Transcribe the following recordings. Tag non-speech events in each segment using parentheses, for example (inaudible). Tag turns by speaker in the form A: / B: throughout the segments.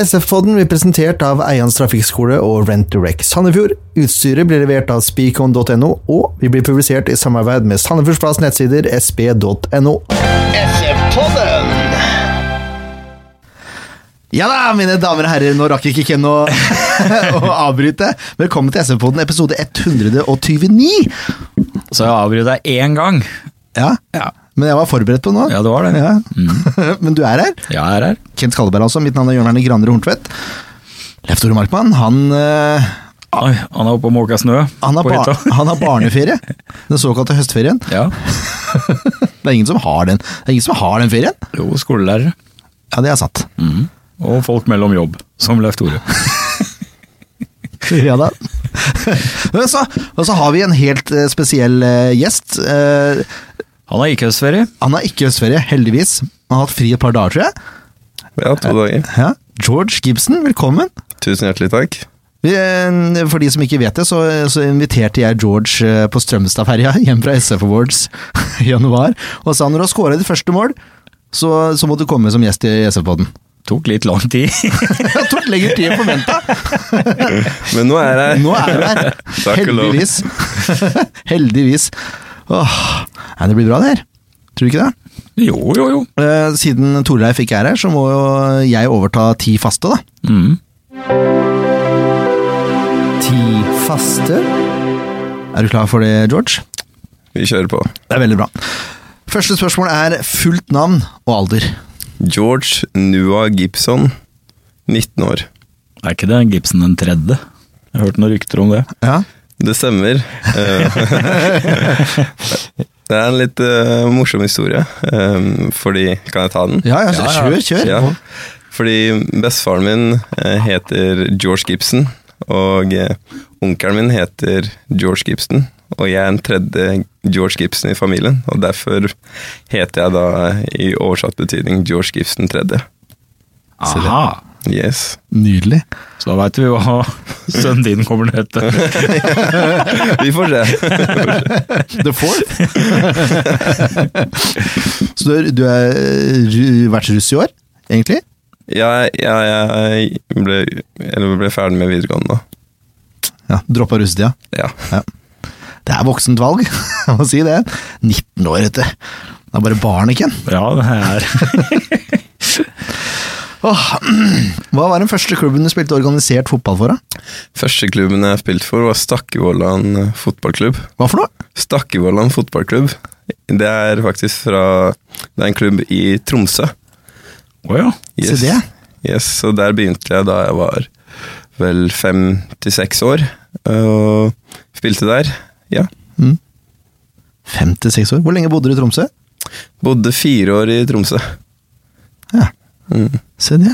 A: SF-podden blir presentert av Eians trafikkskole og Rent Direct Sandefjord. Utstyret blir levert av speakon.no, og vi blir publisert i samarbeid med Sandefjordsplass nettsider sp.no.
B: SF-podden!
A: Ja da, mine damer og herrer, nå rakk ikke Ken å, (laughs) å avbryte. Velkommen til SF-podden, episode 129.
C: Så jeg avbrøt deg én gang.
A: Ja,
C: Ja.
A: men jeg var forberedt på noe.
C: Ja, det var det.
A: Ja. (laughs) men du er her.
C: Jeg er her.
A: Kent Skalleberg altså, mitt navn er Jørn Erne Granerud Horntvedt. Leif Tore Markmann, han eh,
C: Oi, han er oppe og måker snø
A: Han har,
C: på
A: bar
C: (laughs) hytta.
A: han har barneferie, den såkalte høstferien.
C: Ja.
A: Det er ingen som har den Det er ingen som har den ferien.
C: Jo, skolelærere.
A: Ja, det er sant.
C: Mm. Og folk mellom jobb, som Leif Tore.
A: Ja da. Men så, og så har vi en helt eh, spesiell eh, gjest. Eh,
C: Han har IKS-ferie.
A: han har ikke høstferie, heldigvis. Han har hatt fri et par dager, tror jeg.
D: Ja, to dager.
A: Ja. George Gibson, velkommen.
D: Tusen hjertelig takk.
A: Vi, eh, For de som ikke vet det, så, eh, så inviterte jeg George eh, på Strømstadferja (laughs) hjem fra SF Awards i januar, og sa når du har scora ditt første mål, så, så må du komme som gjest i (laughs) SF-podden.
C: Tok litt lang tid. (laughs)
A: Det tok lengre tid enn forventa.
D: Men nå er jeg
A: Nå er du her.
D: Takk og lov.
A: Heldigvis. (laughs) Heldigvis. Åh, nei, det blir bra, det her. Tror du ikke det?
C: Jo, jo, jo.
A: Eh, Siden Torleif ikke er her, så må jo jeg overta ti faste, da.
C: Mm.
A: Ti faste? Er du klar for det, George?
D: Vi kjører på.
A: Det er veldig bra. Første spørsmål er fullt navn og alder.
D: George Nua Gibson, 19 år.
C: Er ikke det Gibson den tredje? Jeg har hørt noen rykter om det.
A: Ja,
D: Det stemmer. Eh, (laughs) det er en litt eh, morsom historie, eh, fordi Kan jeg ta den?
A: ja, ja, så
C: Ja, ja.
A: kjør, kjør.
D: Ja, fordi bestefaren min eh, heter George Gibson, og eh, onkelen min heter George Gibson, og jeg er den tredje George Gibson i familien, og derfor heter jeg da eh, i oversatt betydning George Gibson tredje.
C: Aha.
D: Yes.
A: Nydelig.
C: Så da veit vi hva (laughs) sønnen din kommer til å hete.
D: Vi får se.
A: The fourth. (laughs) så du, er- du har vært russ i år, egentlig?
D: Jeg, jeg, jeg ble, eller ble ferdig med videregående da.
A: Ja, Droppa russetida.
D: Ja.
A: Det er voksent valg, (laughs) jeg må si det. 19 år, vet du. Det er bare barn, ikke?
C: Ja, det er
A: Åh. (clears throat) Hva var den første klubben du spilte organisert fotball for? da?
D: Første klubben jeg spilte for var Stakkevollan eh, fotballklubb.
A: Hva for noe?
D: Stakkevollan fotballklubb. Det er faktisk fra Det er en klubb i Tromsø.
C: Å ja.
A: Se det.
D: Yes, så der begynte jeg da jeg var vel fem til seks år, og spilte der. Ja.
A: Mm. Fem til seks år. Hvor lenge bodde du i Tromsø?
D: Bodde fire år i Tromsø.
A: Ja,
D: Mm.
A: se det.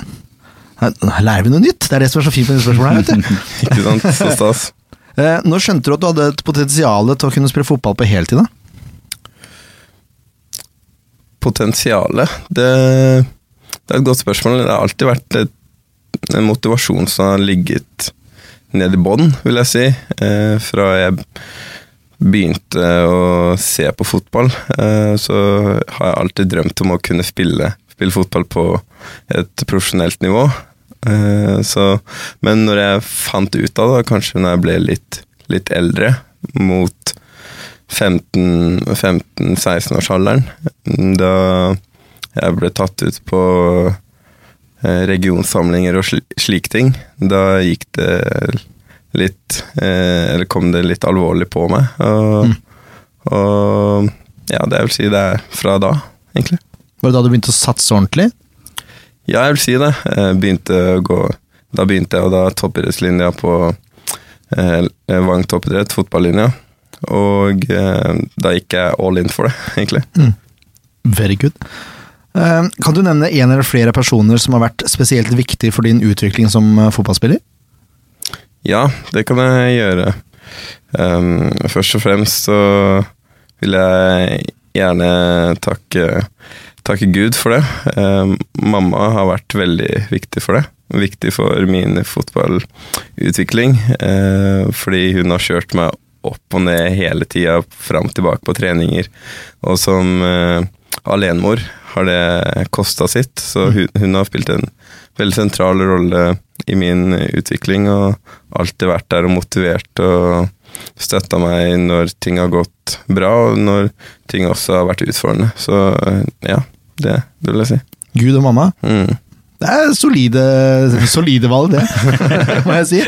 A: Her her lærer vi noe nytt. Det er det som er så fint med disse spørsmålene. her, vet du.
D: Ikke sant? Så stas.
A: Eh, Når skjønte du at du hadde et potensial til å kunne spille fotball på heltid? da?
D: Potensialet det, det er et godt spørsmål. Det har alltid vært et, en motivasjon som har ligget ned i bånn, vil jeg si. Eh, fra jeg begynte å se på fotball, eh, så har jeg alltid drømt om å kunne spille, spille fotball på et profesjonelt nivå. Eh, så, men når jeg fant ut av det, kanskje når jeg ble litt, litt eldre, mot 15-16-årsalderen, da jeg ble tatt ut på eh, regionsamlinger og sli- slike ting, da gikk det litt eh, Eller kom det litt alvorlig på meg. Og, og ja, det jeg vil si det er fra da, egentlig.
A: Var det da du begynte å satse ordentlig?
D: Ja, jeg vil si det. Jeg begynte å gå Da begynte jeg å da toppidrettslinja på eh, Vang toppidrett, fotballinja. Og eh, da gikk jeg all in for det, (laughs) egentlig.
A: Mm. Very good. Eh, Kan du nevne en eller flere personer som har vært spesielt viktig for din utvikling som eh, fotballspiller?
D: Ja, det kan jeg gjøre. Ehm, først og fremst så vil jeg gjerne takke, takke Gud for det. Ehm, mamma har vært veldig viktig for det. Viktig for min fotballutvikling. eh, fordi hun har kjørt meg opp og ned hele tida, fram og tilbake på treninger. Og som eh, alenemor har det kosta sitt, så hun, hun har spilt en veldig sentral rolle i min utvikling og alltid vært der og motivert og støtta meg når ting har gått bra, og når ting også har vært utfordrende. Så eh, ja, det, det vil jeg si.
A: Gud og mamma.
D: Mm.
A: Det er solide, solide valg, det, må jeg si.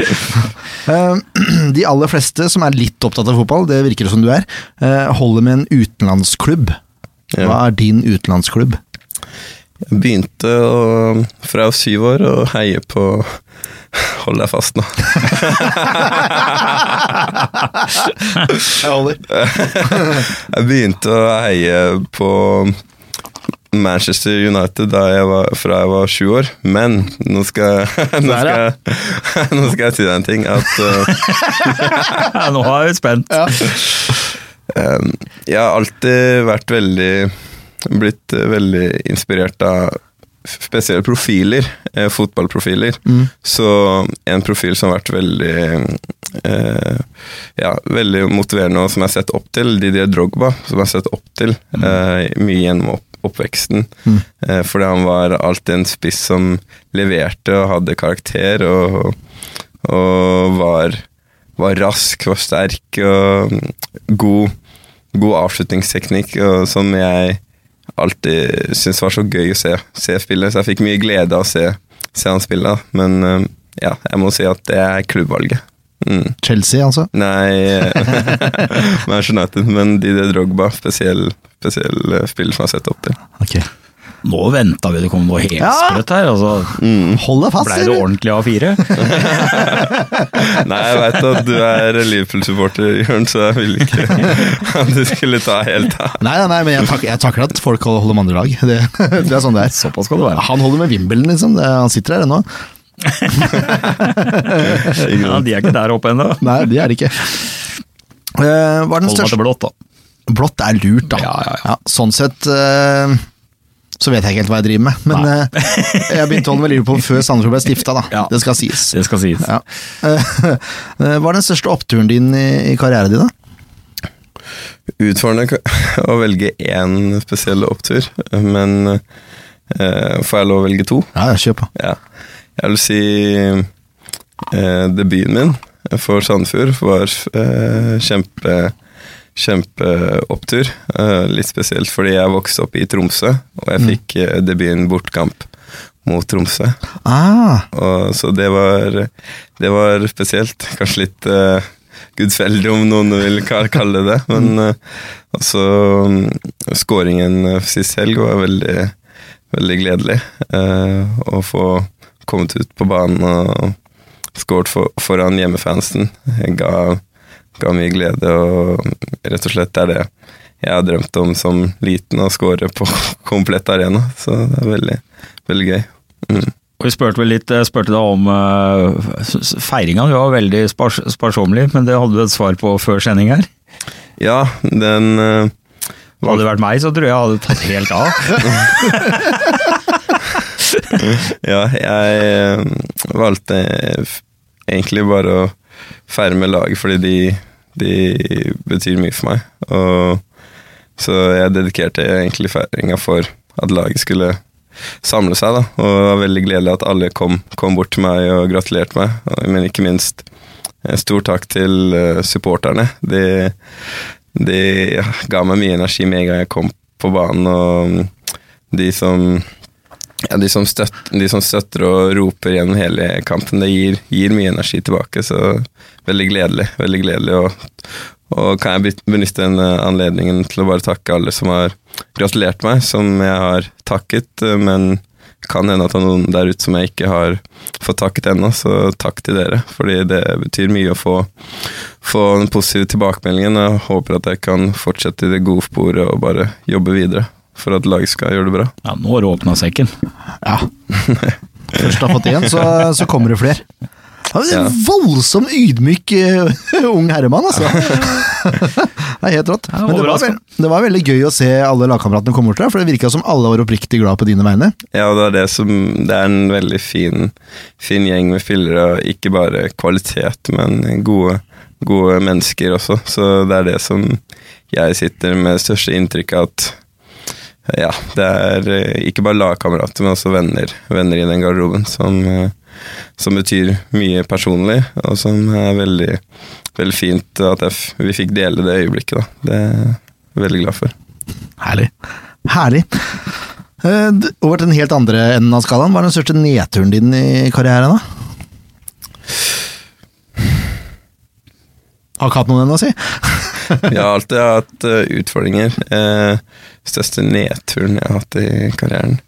A: Eh, De aller fleste som er litt opptatt av fotball, det virker det som du er, eh, holder med en utenlandsklubb.
D: Ja.
A: Hva er din utenlandsklubb?
D: Jeg begynte å, fra jeg var syv år å heie på (laughs) Hold deg fast nå.
A: Jeg holder.
D: Jeg begynte å heie på Manchester United da jeg var, fra jeg var sju år, men nå skal, jeg- (laughs) nå, skal, jeg- (laughs) nå skal jeg si deg en ting. At eh,
C: Nå er vi spent.
D: Ehm, Jeg har alltid vært veldig Blitt eh, veldig inspirert av f- spesielle profiler, eh, fotballprofiler.
A: Mm,
D: Så en profil som har vært veldig eh, Ja, veldig motiverende, og som jeg har sett opp til, Didier Drogba, som jeg har sett opp til eh, mye gjennom opp oppveksten.
A: mm.
D: Eh, fordi han var alltid en spiss som leverte og hadde karakter, og, og var var rask, var sterk og mm, god, god avslutningsteknikk, og som jeg alltid syntes var så gøy å se, se spille. Så jeg fikk mye glede av å se, se han spille, da. men eh, ja, jeg må si at det er klubbvalget. Mm.
A: Chelsea, altså.
D: Nei eh, (laughs) Manchester United, men Didier Drogba, spesiell, spesiell eh, spiller som jeg har sett opp til.
A: Ok.
C: Nå venta vi det kom noe helt
A: Ja.
C: sprøtt her. Altså,
A: Mm, Hold deg fast,
C: Blei det ordentlig A4? (laughs)
D: Nei, jeg veit at du er Liverpool-supporter, Jørn, så jeg ville ikke at du skulle ta helt av.
A: Nei, nei, nei, men jeg, tak jeg takler at folk holder med andre lag. Det, det er sånn det er.
C: Såpass skal det være.
A: Han holder med Wimbledon, liksom. Det, han sitter her ennå.
C: Ja, de er ikke der oppe ennå.
A: Nei, det er det ikke. Eh, hva er den
C: Hold meg
A: største
C: til blått, da.
A: Blått er lurt, da.
C: Ja, ja, ja.
A: sånn sett eh, så vet jeg ikke helt hva jeg driver med, men eh, jeg begynte å holde med Liverpool før Sandefjord ble stifta, da.
C: Ja.
A: Det skal sies.
C: Det skal sies.
A: Ja. Eh, (laughs) hva er den største oppturen din i, i karrieren din, da?
D: utfordrende k- (laughs) å velge én spesiell opptur, men eh, får jeg lov å velge to?
A: Ja, ja, kjør på.
D: Ja. Jeg vil si eh, debuten min for Sandefjord var eh, kjempe kjempeopptur. Eh, litt spesielt fordi jeg vokste opp i Tromsø, og jeg fikk eh, debuten bortkamp mot Tromsø.
A: Ah,
D: Og, så det var, det var spesielt. Kanskje litt eh, gudfeldig, om noen vil ka- kalle det det. Men eh, altså mm, Skåringen eh, sist helg var veldig, veldig gledelig. eh, å få kommet ut på banen og skåret for, foran hjemmefansen eh, ga, ga mye glede, og rett og slett er det jeg har drømt om som liten, å skåre på (laughs) komplett arena. Så det er veldig, veldig gøy. Mm.
C: Og Vi spurte vel litt, eh, spurte deg om eh, s- s- feiringa. Du var veldig spars sparsommelig, men det hadde du et svar på før sending her.
D: Ja, den eh,
C: Hadde det vært meg, så tror jeg jeg hadde tatt helt
A: (laughs)
C: av.
D: Ja, jeg eh, valgte f- egentlig bare å feire med laget, fordi de, de betyr mye for meg. Og, så jeg dedikerte egentlig feiringa for at laget skulle samle seg, da. Og det var veldig gledelig at alle kom, kom bort til meg og gratulerte meg. Og- Men ikke minst eh, stor takk til eh, supporterne. De, de ga meg mye energi med en gang jeg kom på banen, og de som ja, de som, støt, de som støtter og roper gjennom hele kampen, det gir, gir mye energi tilbake, så veldig gledelig. Veldig gledelig, og, og kan jeg byt- benytte denne anledningen til å bare takke alle som har gratulert meg, som jeg har takket, men kan hende at det er noen der ute som jeg ikke har fått takket ennå, så takk til dere, fordi det betyr mye å få, få den positive tilbakemeldingen, og jeg håper at jeg kan fortsette i det gode sporet og bare jobbe videre for at laget skal gjøre det bra.
C: Ja, nå har du åpna sekken.
A: ja. (laughs) Først har fått én, så, så kommer det flere. Ja, men det er en voldsom ydmyk eh, ung herremann,
C: (laughs)
A: altså. Det er helt rått.
C: Ja,
A: Men det var,
C: overraskende.
A: veld- det var veldig gøy å se alle lagkameratene komme bort til deg, for det virka som alle var oppriktig glad på dine vegne.
D: Ja, det er det som Det er en veldig fin, fin gjeng med spillere, og ikke bare kvalitet, men gode, gode mennesker også. Så det er det som jeg sitter med største inntrykk av at Ja, det er eh, ikke bare lagkamerater, men også venner, venner i den garderoben som, eh, som betyr mye personlig, og som er veldig, veldig fint at jeg, f- vi fikk dele det øyeblikket. Da. Det er jeg veldig glad for.
A: Herlig. Herlig. Eh, d- Over til den helt andre enden av skalaen. Hva er den største nedturen din i karrieren, da? Har ikke hatt noen ennå, si?
D: (laughs) Jeg har alltid hatt eh, utfordringer. Eh, største nedturen jeg har hatt i karrieren.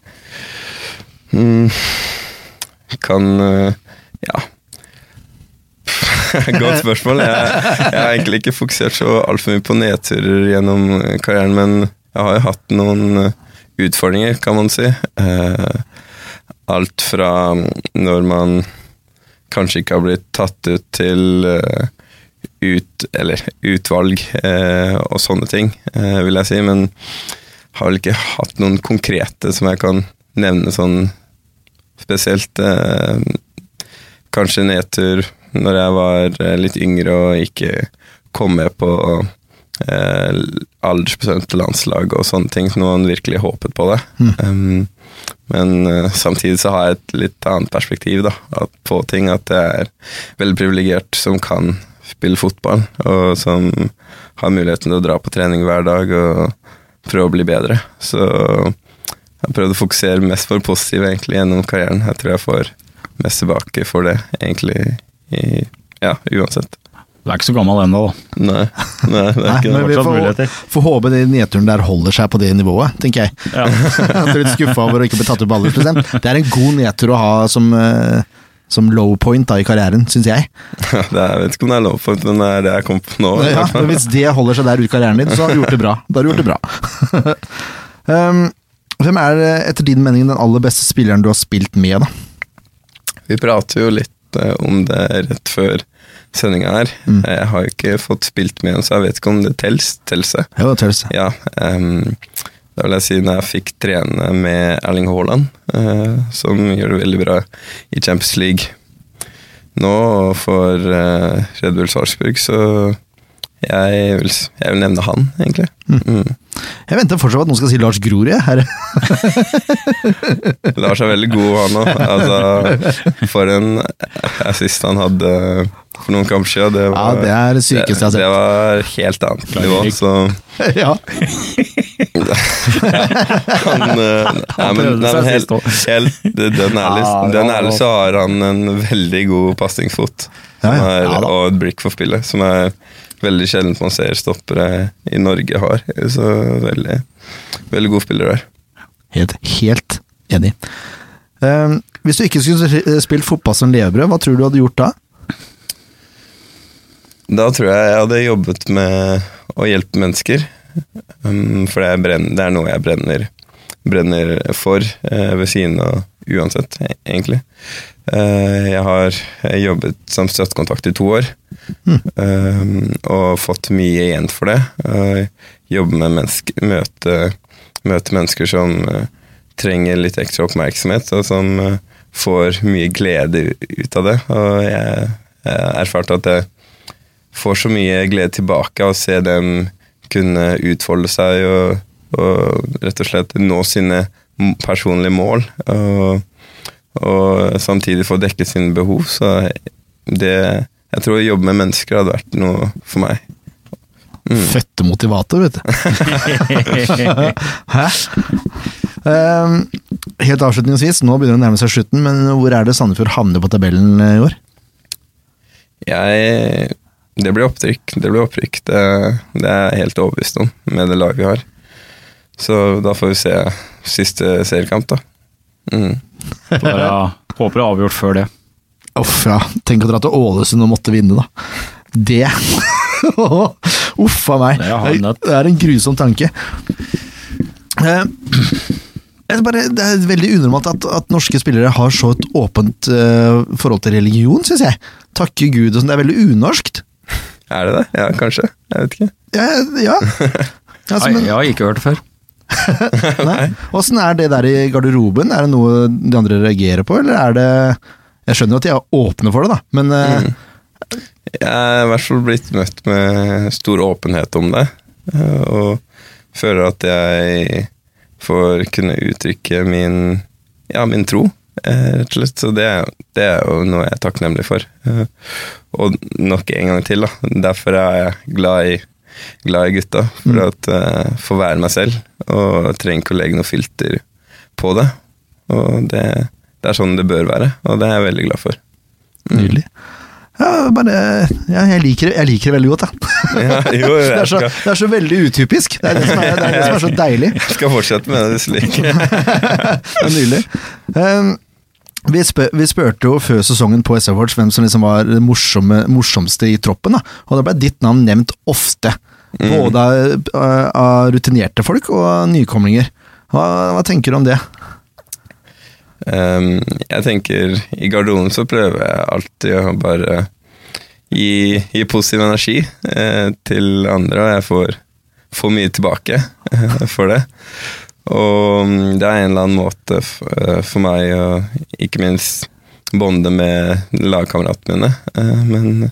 D: Mm. Kan eh, Ja. (laughs) Godt spørsmål. Jeg, jeg har egentlig ikke fokusert så altfor mye på nedturer gjennom eh, karrieren, men jeg har jo hatt noen eh, utfordringer, kan man si. Eh, alt fra mm, når man kanskje ikke har blitt tatt ut til eh, ut, eller, utvalg eh, og sånne ting, eh, vil jeg si. Men har vel ikke hatt noen konkrete som jeg kan nevne sånn spesielt. Eh, kanskje nedtur når jeg var eh, litt yngre og ikke kom med på eh, aldersbestemte landslag og sånne ting, når man virkelig håpet på det. Um, men eh, samtidig så har jeg et litt annet perspektiv da, at, på ting. At jeg er veldig privilegert som kan spille fotball, og som har muligheten til å dra på trening hver dag og prøve å bli bedre. Så jeg har prøvd å fokusere mest på det positive egentlig gjennom karrieren. Jeg tror jeg får mest tilbake for det, egentlig. I, ja, uansett.
C: Du er ikke så gammel ennå,
A: (laughs)
C: da.
D: Nei, nei, det er
A: Nei, men
D: ikke det.
A: vi
C: fortsatt
A: får,
C: muligheter.
A: får håpe den nedturen der holder seg på det nivået, tenker (laughs) jeg.
C: Ja.
A: At du er litt skuffa over å ikke bli tatt ut på aldersbestemt. Det er en god nedtur å ha som, eh, som low point da, i karrieren, syns jeg.
D: (laughs) det er, jeg vet ikke om det er lov for, men det er det jeg kom på nå. i
A: Ja,
D: hvert fall.
A: men hvis det holder seg der ut i karrieren din, så har du gjort det bra. Da har du gjort det bra. (laughs) um, hvem er eh, etter din mening den aller beste spilleren du har spilt med, da?
D: Vi prater jo litt eh, om det rett før sendinga her.
A: Mm.
D: Eh, Jeg har jo ikke fått spilt med en, så jeg vet ikke om det tels. Telse.
A: Jo, Tøls.
D: Ja, ehm, da vil jeg si når jeg fikk trene med Erling Haaland, eh, som gjør det veldig bra i Champions League nå, og for eh, Red Bull Sarpsborg, så jeg vil, s- jeg vil nevne han, egentlig. Mm.
A: Jeg venter fortsatt på at noen skal si Lars Grorud, jeg. Her.
D: Lars er veldig god, han òg. Altså, for en assist han hadde eh, for noen kamper siden. Det
A: Ja,
D: var,
A: det er det sykeste jeg har sett.
D: Det, det var helt annet
C: Klar,
D: nivå,
C: Erik.
D: så
A: (laughs) ja.
D: han eh, nei, men,
C: prøvde
D: nei,
C: seg
D: men helt,
C: sist
D: helt Den ærlig,
C: Ja, det
D: den
C: var
D: ærlig
C: godt.
D: så har han en veldig god pasningsfot
A: Ja, ja.
D: som er-
A: Ja, da.
D: og et blikk for spillet, som er veldig sjelden man ser stoppere i Norge har. Så veldig, veldig god spiller der.
A: Helt, helt enig. Um, hvis du ikke skulle s- spilt fotball som levebrød, hva tror du du hadde gjort da?
D: Da tror jeg jeg hadde jobbet med å hjelpe mennesker. Um, for det er, brenn, det er noe jeg brenner, brenner for eh, ved siden av uansett, e- egentlig. Eh, jeg har jobbet som støttekontakt i to år, um, og fått mye igjen for det. Eh, jobbe med mennesker, møte, møte mennesker som eh, trenger litt ekstra oppmerksomhet, og som eh, får mye glede u- ut av det. Og jeg, jeg erfarte at det får så mye glede tilbake av å se dem kunne utfolde seg og, og rett og slett nå sine m- personlige mål. Og, og samtidig få dekket sine behov. Så det Jeg tror å jobbe med mennesker hadde vært noe for meg.
A: Fødte motivator, vet du. Hæ? Um, helt avslutningsvis, nå begynner det å nærme seg slutten, men hvor er det Sandefjord havner på tabellen eh, i år?
D: Jeg Det blir opprykk. Det blir opprykk. Det, det er jeg helt overbevist om med det laget vi har. Så da får vi se siste seriekamp, da. Mm.
C: Bare håper det er avgjort før det.
A: Uff, ja. Tenk å dra til Ålesund og måtte vinne, da. Det (laughs) Uff a meg.
C: Det er hard nøtt.
A: Det er en grusom tanke. Eh, jeg bare, det er veldig unormalt at, at norske spillere har så et åpent eh, forhold til religion, syns jeg. Takke Gud og sånn. Det er veldig unorskt.
D: Er det det? Ja, kanskje. Jeg vet ikke.
A: Ja. ja. Altså,
C: Nei,
A: men,
C: jeg har ikke hørt det før.
A: nei. Åssen er det der i garderoben? Er det noe de andre reagerer på, eller er det Jeg skjønner jo at de er åpne for det, da, men
C: Mm.
A: eh,
D: Jeg er i hvert fall blitt møtt med stor åpenhet om det. eh, Og føler at jeg får kunne uttrykke min, ja, min tro, eh, rett og slett. Så det, er- det er jo noe jeg er takknemlig for. Eh, og nok en gang til, da. Derfor er jeg glad i, glad i gutta. For
A: Mm.
D: å eh, få være meg selv, og trenger ikke å legge noe filter på det. Og det, det er sånn det bør være, og det er jeg
A: (laughs)
D: veldig glad for.
A: Nydelig. Ja, bare, ja, jeg, liker det, jeg liker det veldig godt, da. (laughs)
D: Ja, jo,
A: Det
D: jeg
A: er, så,
D: skal,
A: det er så veldig utypisk. Det er det som er, det er, det som er så deilig.
D: jeg skal fortsette med det slik.
A: Det er nydelig. Um, vi, spør, vi spurte jo før sesongen på SF Awards hvem som liksom var det morsomme, morsomste i troppen, da. og da ble ditt navn nevnt ofte.
D: Mm.
A: Både av, av rutinerte folk og av nykomlinger. Hva, hva tenker du om det?
D: Ehm, jeg tenker I garderoben så prøver jeg alltid å bare gi, gi positiv energi eh, til andre, og jeg får, får mye tilbake eh, for det. Og mm, det er en eller annen måte f- eh, for meg å ikke minst bonde med lagkameratene mine. Eh, men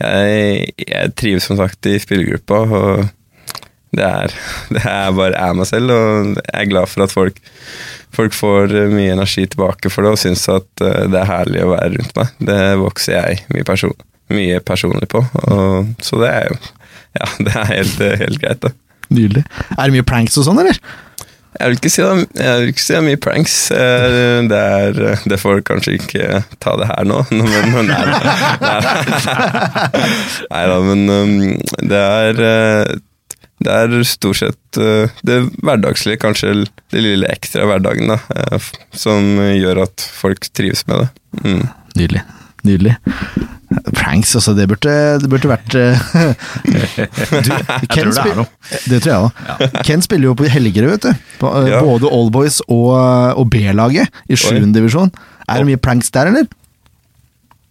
D: jeg, jeg trives som sagt i spillergruppa, og det er, (laughs) det er bare jeg meg selv, og jeg er glad for at folk folk får eh, mye energi tilbake for det, og syns at eh, det er herlig å være rundt meg. Det vokser jeg mye, perso mye personlig på, og, så det er jo ja, (laughs) det er helt, eh, helt greit, det.
A: Nydelig. Er det mye pranks og sånn, eller?
D: Jeg vil ikke si det, er- jeg vil ikke si det er mye pranks. eh, Det, er, eh, det får kanskje ikke eh, ta det her nå, (laughs) men, men nei, nei, nei (laughs) da, men um, det er eh, det er stort sett eh, det hverdagslige, kanskje l- det lille ekstra i hverdagen, da, eh, f- som gjør at folk trives med det. Mm.
A: Nydelig. Nydelig. Pranks, altså. Det burde, det burde vært
C: (laughs)
A: eh, du, Ken
C: tror det er
A: spil-
C: noe.
A: Det tror jeg òg. Ken spiller jo på Helgerud, vet du. På, eh,
D: Ja.
A: Både Allboys og, eh, og B-laget i sjuende divisjon. Er det mye pranks der, eller?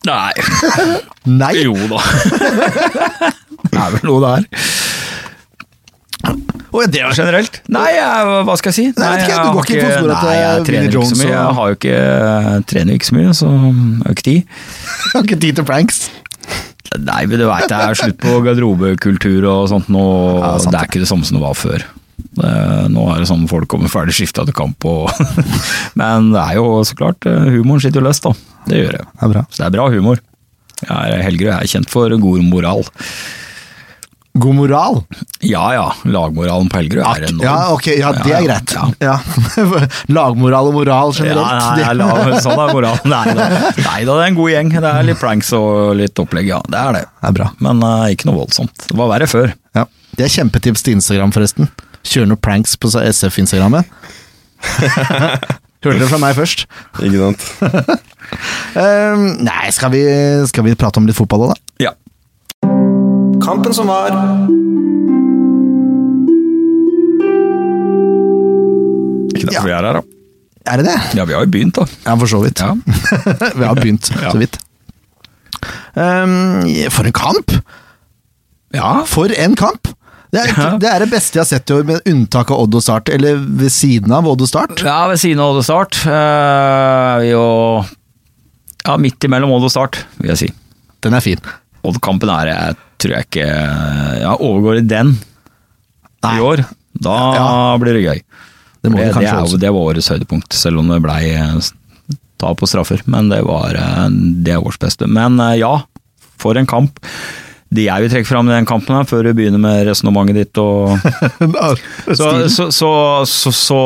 C: Nei,
A: Nei!
C: (laughs) jo da. det er vel noe
A: (laughs)
C: der.
A: Å, ja, det var
C: Generelt? Nei, jeg, hva skal jeg si?
A: Nei, jeg vet ikke, du går ikke på sporet
C: nei,
A: til
C: jeg trener
A: Vinnie
C: ikke så
A: Jones
C: mye.
A: og-
C: Jeg har jo ikke, jeg trener jo ikke så mye, så jeg har ikke tid.
A: Jeg har ikke tid til pranks.
C: Nei, men du veit det er slutt på garderobekultur og sånt nå.
A: Ja, sant
C: det
A: det.
C: er ikke det samme som det var før. Det, nå er det sånn folk kommer ferdig skifta til kamp og (laughs) Men det er jo så klart, eh, humoren sitter jo løst, da. Det gjør det.
A: Det er bra.
C: Så det er bra humor. Jeg er Helgerud jeg er kjent for god moral.
A: God moral.
C: Ja ja, lagmoralen på Helgerud er enorm.
A: Ja, ok, ja, det er
C: Ja, ja,
A: greit.
C: ja.
A: Ja. (laughs) Lagmoral og moral generelt.
C: Ja, nei,
A: det-
C: jeg la- sånn er moralen. Nei da. nei da, det er en god gjeng. Det er litt pranks og litt opplegg, ja. Det er det.
A: Det er bra.
C: Men eh, ikke noe voldsomt. Det var verre før.
A: Ja. Det er kjempetips til Instagram, forresten. Kjør noen pranks på (laughs) SF-instagrammen. Hørte det fra meg først.
D: Ikke sant?
A: Ehm, nei, skal vi, skal vi prate om litt fotball òg, da?
C: Ja.
A: Kampen som var.
C: Ikke derfor
A: Ja.
C: vi er her, da.
A: Er det det?
C: Ja, vi har jo begynt, da.
A: Ja, (laughs) for så vidt.
C: Ja.
A: vi har begynt,
C: Ja.
A: så vidt. Ehm, for en kamp!
C: Ja,
A: For en kamp! Det er,
C: Ja.
A: det er det beste jeg har sett i år, med unntak av Odd og Start. Eller ved siden av Odd og Start.
C: ved siden av Odd og Start. eh, er vi jo ja, midt imellom Odd og Start, vil jeg si.
A: Den er fin.
C: Odd-kampen er jeg tror jeg ikke Ja, overgår i den
A: Nei.
C: i år. Da
A: Ja.
C: blir det gøy.
A: Det må
C: det,
A: vi kanskje
C: det, er,
A: (laughs)
C: jo-
A: også.
C: det var årets høydepunkt, selv om det blei eh, tap og straffer. Men det var eh, det er årets beste. Men eh, ja, for en kamp. Det jeg vil trekke fram i den kampen, her, før vi begynner med resonnementet ditt og så,
A: Stilen.
C: så, så, så, så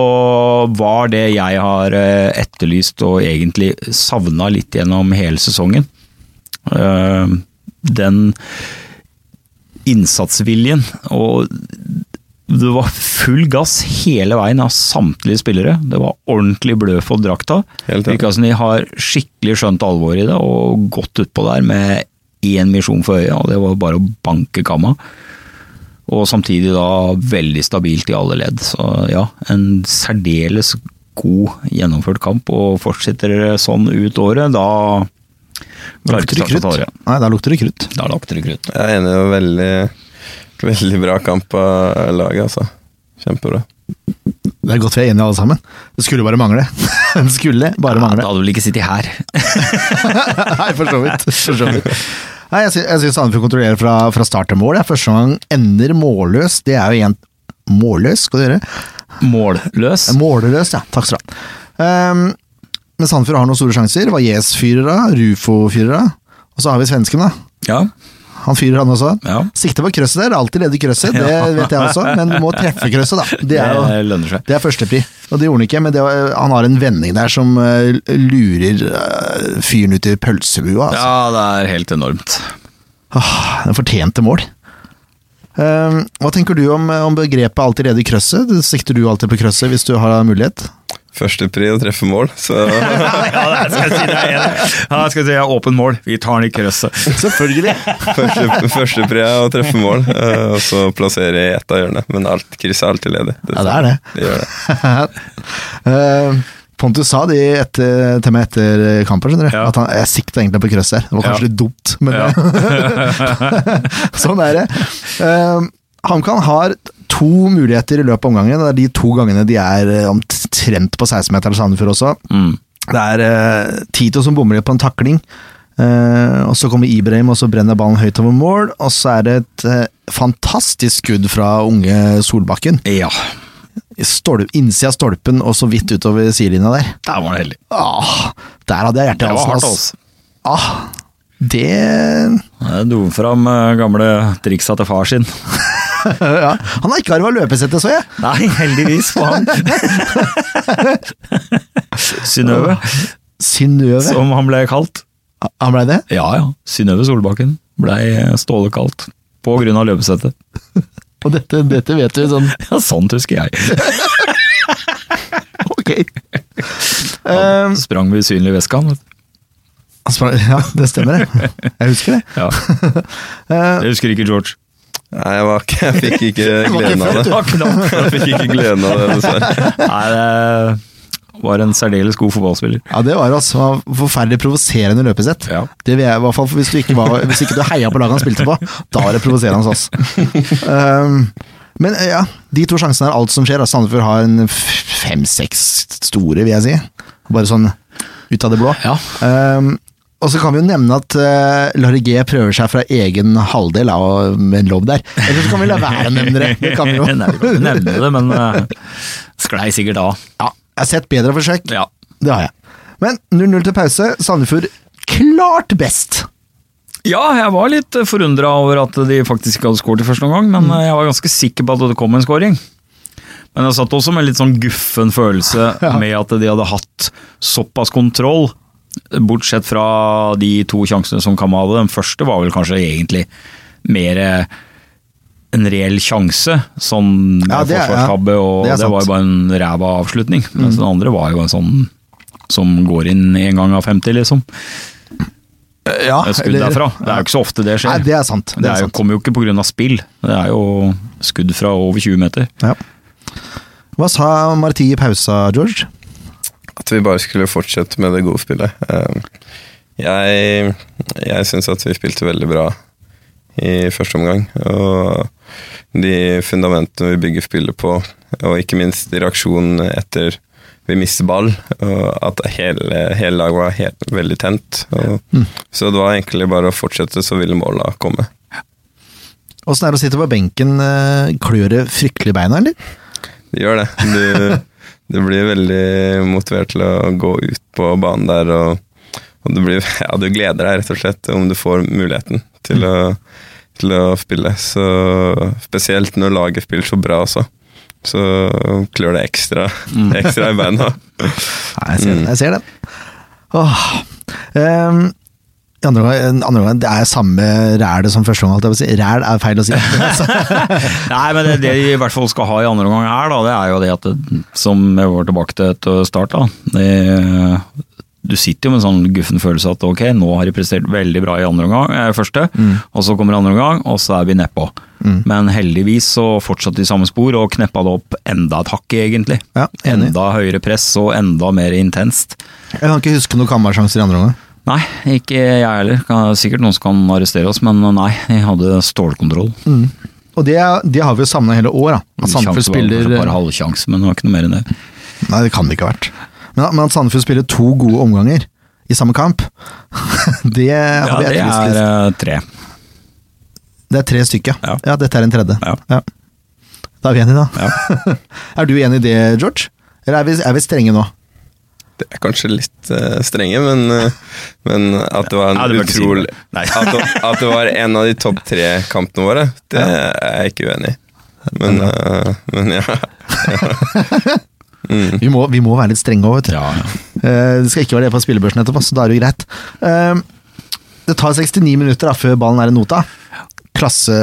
C: var det jeg har eh, etterlyst og egentlig savna litt gjennom hele sesongen. Eh, Den innsatsviljen og det var full gass hele veien av samtlige spillere. Det var ordentlig blø for drakta.
D: Helt enig.
C: Virka som de har skikkelig skjønt alvoret i det og gått utpå der med én misjon for øye, og det var bare å banke kamma. Og samtidig da veldig stabilt i alle ledd. Så ja, en særdeles god gjennomført kamp. Og fortsetter det sånn ut året, da
A: Da
C: klarer
A: lukter
C: ikke
A: det
C: Start å ta
A: krutt.
C: det.
A: Nei, da lukter det krutt.
C: Da lukter det krutt.
D: Jeg er enig, det var veldig, veldig bra kamp av laget, altså. Kjempebra.
A: Det er godt vi er enige alle sammen. Det skulle bare mangle. (laughs) Det skulle bare
C: Ja,
A: mangle.
C: da hadde du vel ikke sittet her.
A: (laughs)
C: (laughs)
A: Nei, for så vidt. For så vidt. Nei, jeg sy- jeg syns Sandefjord kontrollerer fra, fra start til mål. Ja. Første gang ender målløs. Det er jo en målløs, skal du gjøre.
C: Målløs.
A: Målløs, ja. Takk skal du ha. Ehm, men Sandefjord har noen store sjanser. Valles-fyrere, Rufo-fyrere. Og så har vi svensken, da.
C: Ja,
A: Han fyrer, han også.
C: ja.
A: Sikte på krøsset der. Alltid lede krøsset, det vet jeg også. Men du må treffe krøsset, da. Det er jo
C: Det lønner seg.
A: det er førstepri, og det gjorde han ikke, men det var, han har en vending der som eh, lurer eh, fyren ut i pølsebua. Altså.
C: Ja, det er helt enormt.
A: Åh, det fortjente mål. Ehm, hva tenker du om, om begrepet 'alltid lede krøsset'? Sikter du alltid på krøsset hvis du har mulighet?
D: Førstepri å treffe mål,
C: (laughs)
D: så (laughs)
C: Ja, det skal jeg si det er enig. Ja, jeg skal si jeg er åpen mål. Vi tar den i krøsset.
A: Selvfølgelig!
D: første- førstepri er å treffe mål. eh, Og så plassere i ett av hjørnene. Men alt, krysset er alltid ledig.
A: Ja, det er det.
D: det gjør det.
A: Ehm, Pontus sa det etter, til meg etter kampen, skjønner du.
C: Ja.
A: At han, jeg sikta egentlig på krøsset her. Det var kanskje
C: Ja.
A: litt dumt, men
C: Ja.
A: (laughs) Sånn er det. Ehm, HamKam har to muligheter i løpet av omgangen. og Det er de to gangene de er eh, omtrent på 16-meteren Sandefjord også.
C: Mm.
A: Det er eh, Tito som bommer på en takling. eh, og Så kommer Ibrahim og så brenner ballen høyt over mål. Og så er det et eh, fantastisk skudd fra unge Solbakken.
C: Ja,
A: I Stolp, innsida av stolpen og så vidt utover sidelinja der.
C: der var han heldig.
A: Ah, der hadde jeg hjertet i
C: Det var
A: halsen.
C: hardt,
A: ass.
C: altså.
A: Ah, det (laughs)
C: Jeg dro fram eh, gamle triksa til far sin.
A: ja. Han har ikke arva løpesette, så jeg.
C: Nei, heldigvis for han. Synnøve,
A: Synnøve.
C: som han ble kalt.
A: Han blei det?
C: Ja ja, Synnøve Solbakken blei Ståle kalt. På grunn av løpesettet.
A: Og dette, dette vet vi sånn
C: Ja, sånt husker jeg.
A: (laughs) Ok.
C: Han
A: Um,
C: sprang med usynlig veske, han. vet du.
A: han spør- ja, det stemmer, det. Jeg husker det.
C: Ja.
A: Eh,
C: Jeg husker ikke George.
D: Nei, jeg, var ikke, jeg fikk ikke
A: var ikke
D: gleden av
A: født,
D: det.
A: du.
C: Det var knapt.
D: Jeg fikk ikke gleden av det, dessverre.
C: Nei, det var en særdeles god fotballspiller.
A: ja, det var altså han var forferdelig provoserende løpesett.
C: Ja.
A: Det vil jeg i hvert fall, hvis du ikke, var, hvis ikke du heia på laget han spilte på, da var det provoserende, ass. Um, men eh, ja, de to sjansene er alt som skjer. da. Sandefjord har en f- fem-seks store, vil jeg si. Bare sånn ut av det blå.
C: Ja.
A: Um, og så kan vi jo nevne at uh, Larry G prøver seg fra egen halvdel av en lobb der. Eller så kan vi la være å nevne det. det kan vi jo.
C: (laughs) (laughs) Nei, vi kan ikke nevne det, men eh, sklei sikkert av.
A: Ja, jeg har sett bedre forsøk.
C: Ja.
A: Det har jeg. Men 0-0 til pause. Sandefjord klart best.
C: Ja, jeg var litt forundra over at de faktisk ikke hadde skåret i første omgang,
A: Mm.
C: men eh, jeg var ganske sikker på at det kom en skåring. Men jeg satt også med litt sånn guffen følelse
A: (laughs)
C: med at de hadde hatt såpass kontroll, bortsett fra de to sjansene som Kama hadde. Den første var vel kanskje egentlig mer eh, en reell sjanse, sånn
A: Ja,
C: med
A: det er- ja.
C: forsvarstabbe, og
A: Det er
C: det,
A: sant. Mm.
C: var jo bare en ræva avslutning. Mens den andre var jo en sånn som går inn en gang av 50, liksom.
A: Ja,
C: Et Eh, skudd derfra. Det er jo ikke så ofte det skjer.
A: Ah, Nei, det er sant.
C: Det,
A: Det
C: er
A: er
C: jo,
A: sant.
C: kommer jo ikke pga. spill, det er jo skudd fra over 20 meter.
A: Ja. Hva sa Marti i pausa, George?
D: At vi bare skulle fortsette med det gode spillet. Eh, Jeg, jeg syns at vi spilte veldig bra i første omgang. Og de fundamentene vi bygger spillet på, og ikke minst i reaksjonen etter vi mister ball, og at hele, hele laget var helt, veldig tent. Og, Så det var egentlig bare å fortsette, så ville måla komme.
A: Åssen er det å sitte på benken? eh, Klør det fryktelig i beina, eller?
D: Det gjør det. Du, du blir veldig motivert til å gå ut på banen der, og, og du, blir, ja, du gleder deg rett og slett om du får muligheten til å, til å spille. Så, spesielt når laget spiller så bra også. Så klør det ekstra,
C: Mm.
D: ekstra i beina.
A: Nei, jeg ser den. Jeg ser den. Åh. Ehm, i andre gang, andre gang, det er samme ræl som første gang. holdt jeg på å si. Ræl er feil å
C: (laughs)
A: si.
C: Nei, men det, det de i hvert fall skal ha i andre omgang her, da, det er jo det at det, som jeg var tilbake til etter start, da det, Du sitter jo med en sånn guffen følelse at ok, nå har de prestert veldig bra i andre omgang, eh, første,
A: Mm.
C: og så kommer andre omgang, og så er vi nedpå. Men heldigvis så fortsatte de samme spor og kneppa det opp enda et hakk, egentlig.
A: Ja, enig.
C: enda høyere press og enda mer intenst.
A: Jeg kan ikke huske noen kammersjanser i andre omgang.
C: Nei, ikke jeg heller. Kan- Sikkert noen som kan arrestere oss, men eh, nei, jeg hadde stålkontroll.
A: Og det, det har vi jo savna hele år. Da. At Sandefjord
C: Sjanse var kanskje
A: spiller
C: Bare halvsjanse, men det var ikke noe mer enn det.
A: Nei, det kan det ikke ha vært. Men, men at Sandefjord spiller to gode omganger i samme kamp, (laughs) det
C: Ja,
A: har vi
C: det
A: etterlyst.
C: er
A: litt.
C: eh, tre.
A: Det er tre stykker.
C: Ja.
A: Ja, dette er en tredje.
C: Ja.
A: Da er vi enige, da. (laughs) er du enig i det, George? Eller er vi, er vi strenge nå?
D: Det er kanskje litt eh, strenge, men, eh, men at det var
C: Ja,
D: en
C: det bør ikke si
D: utrolig
C: det. Nei.
D: at, det- at det var en av de topp tre kampene våre, det er jeg ikke uenig i. Men, eh, men ja.
A: Vi må, vi må være litt strenge òg, vet du.
C: Ja, ja.
A: Eh, Det skal ikke være det på spillebørsen etterpå, så da er det jo greit. Eh, Det tar 69 minutter da, før ballen er i nota. Klasse,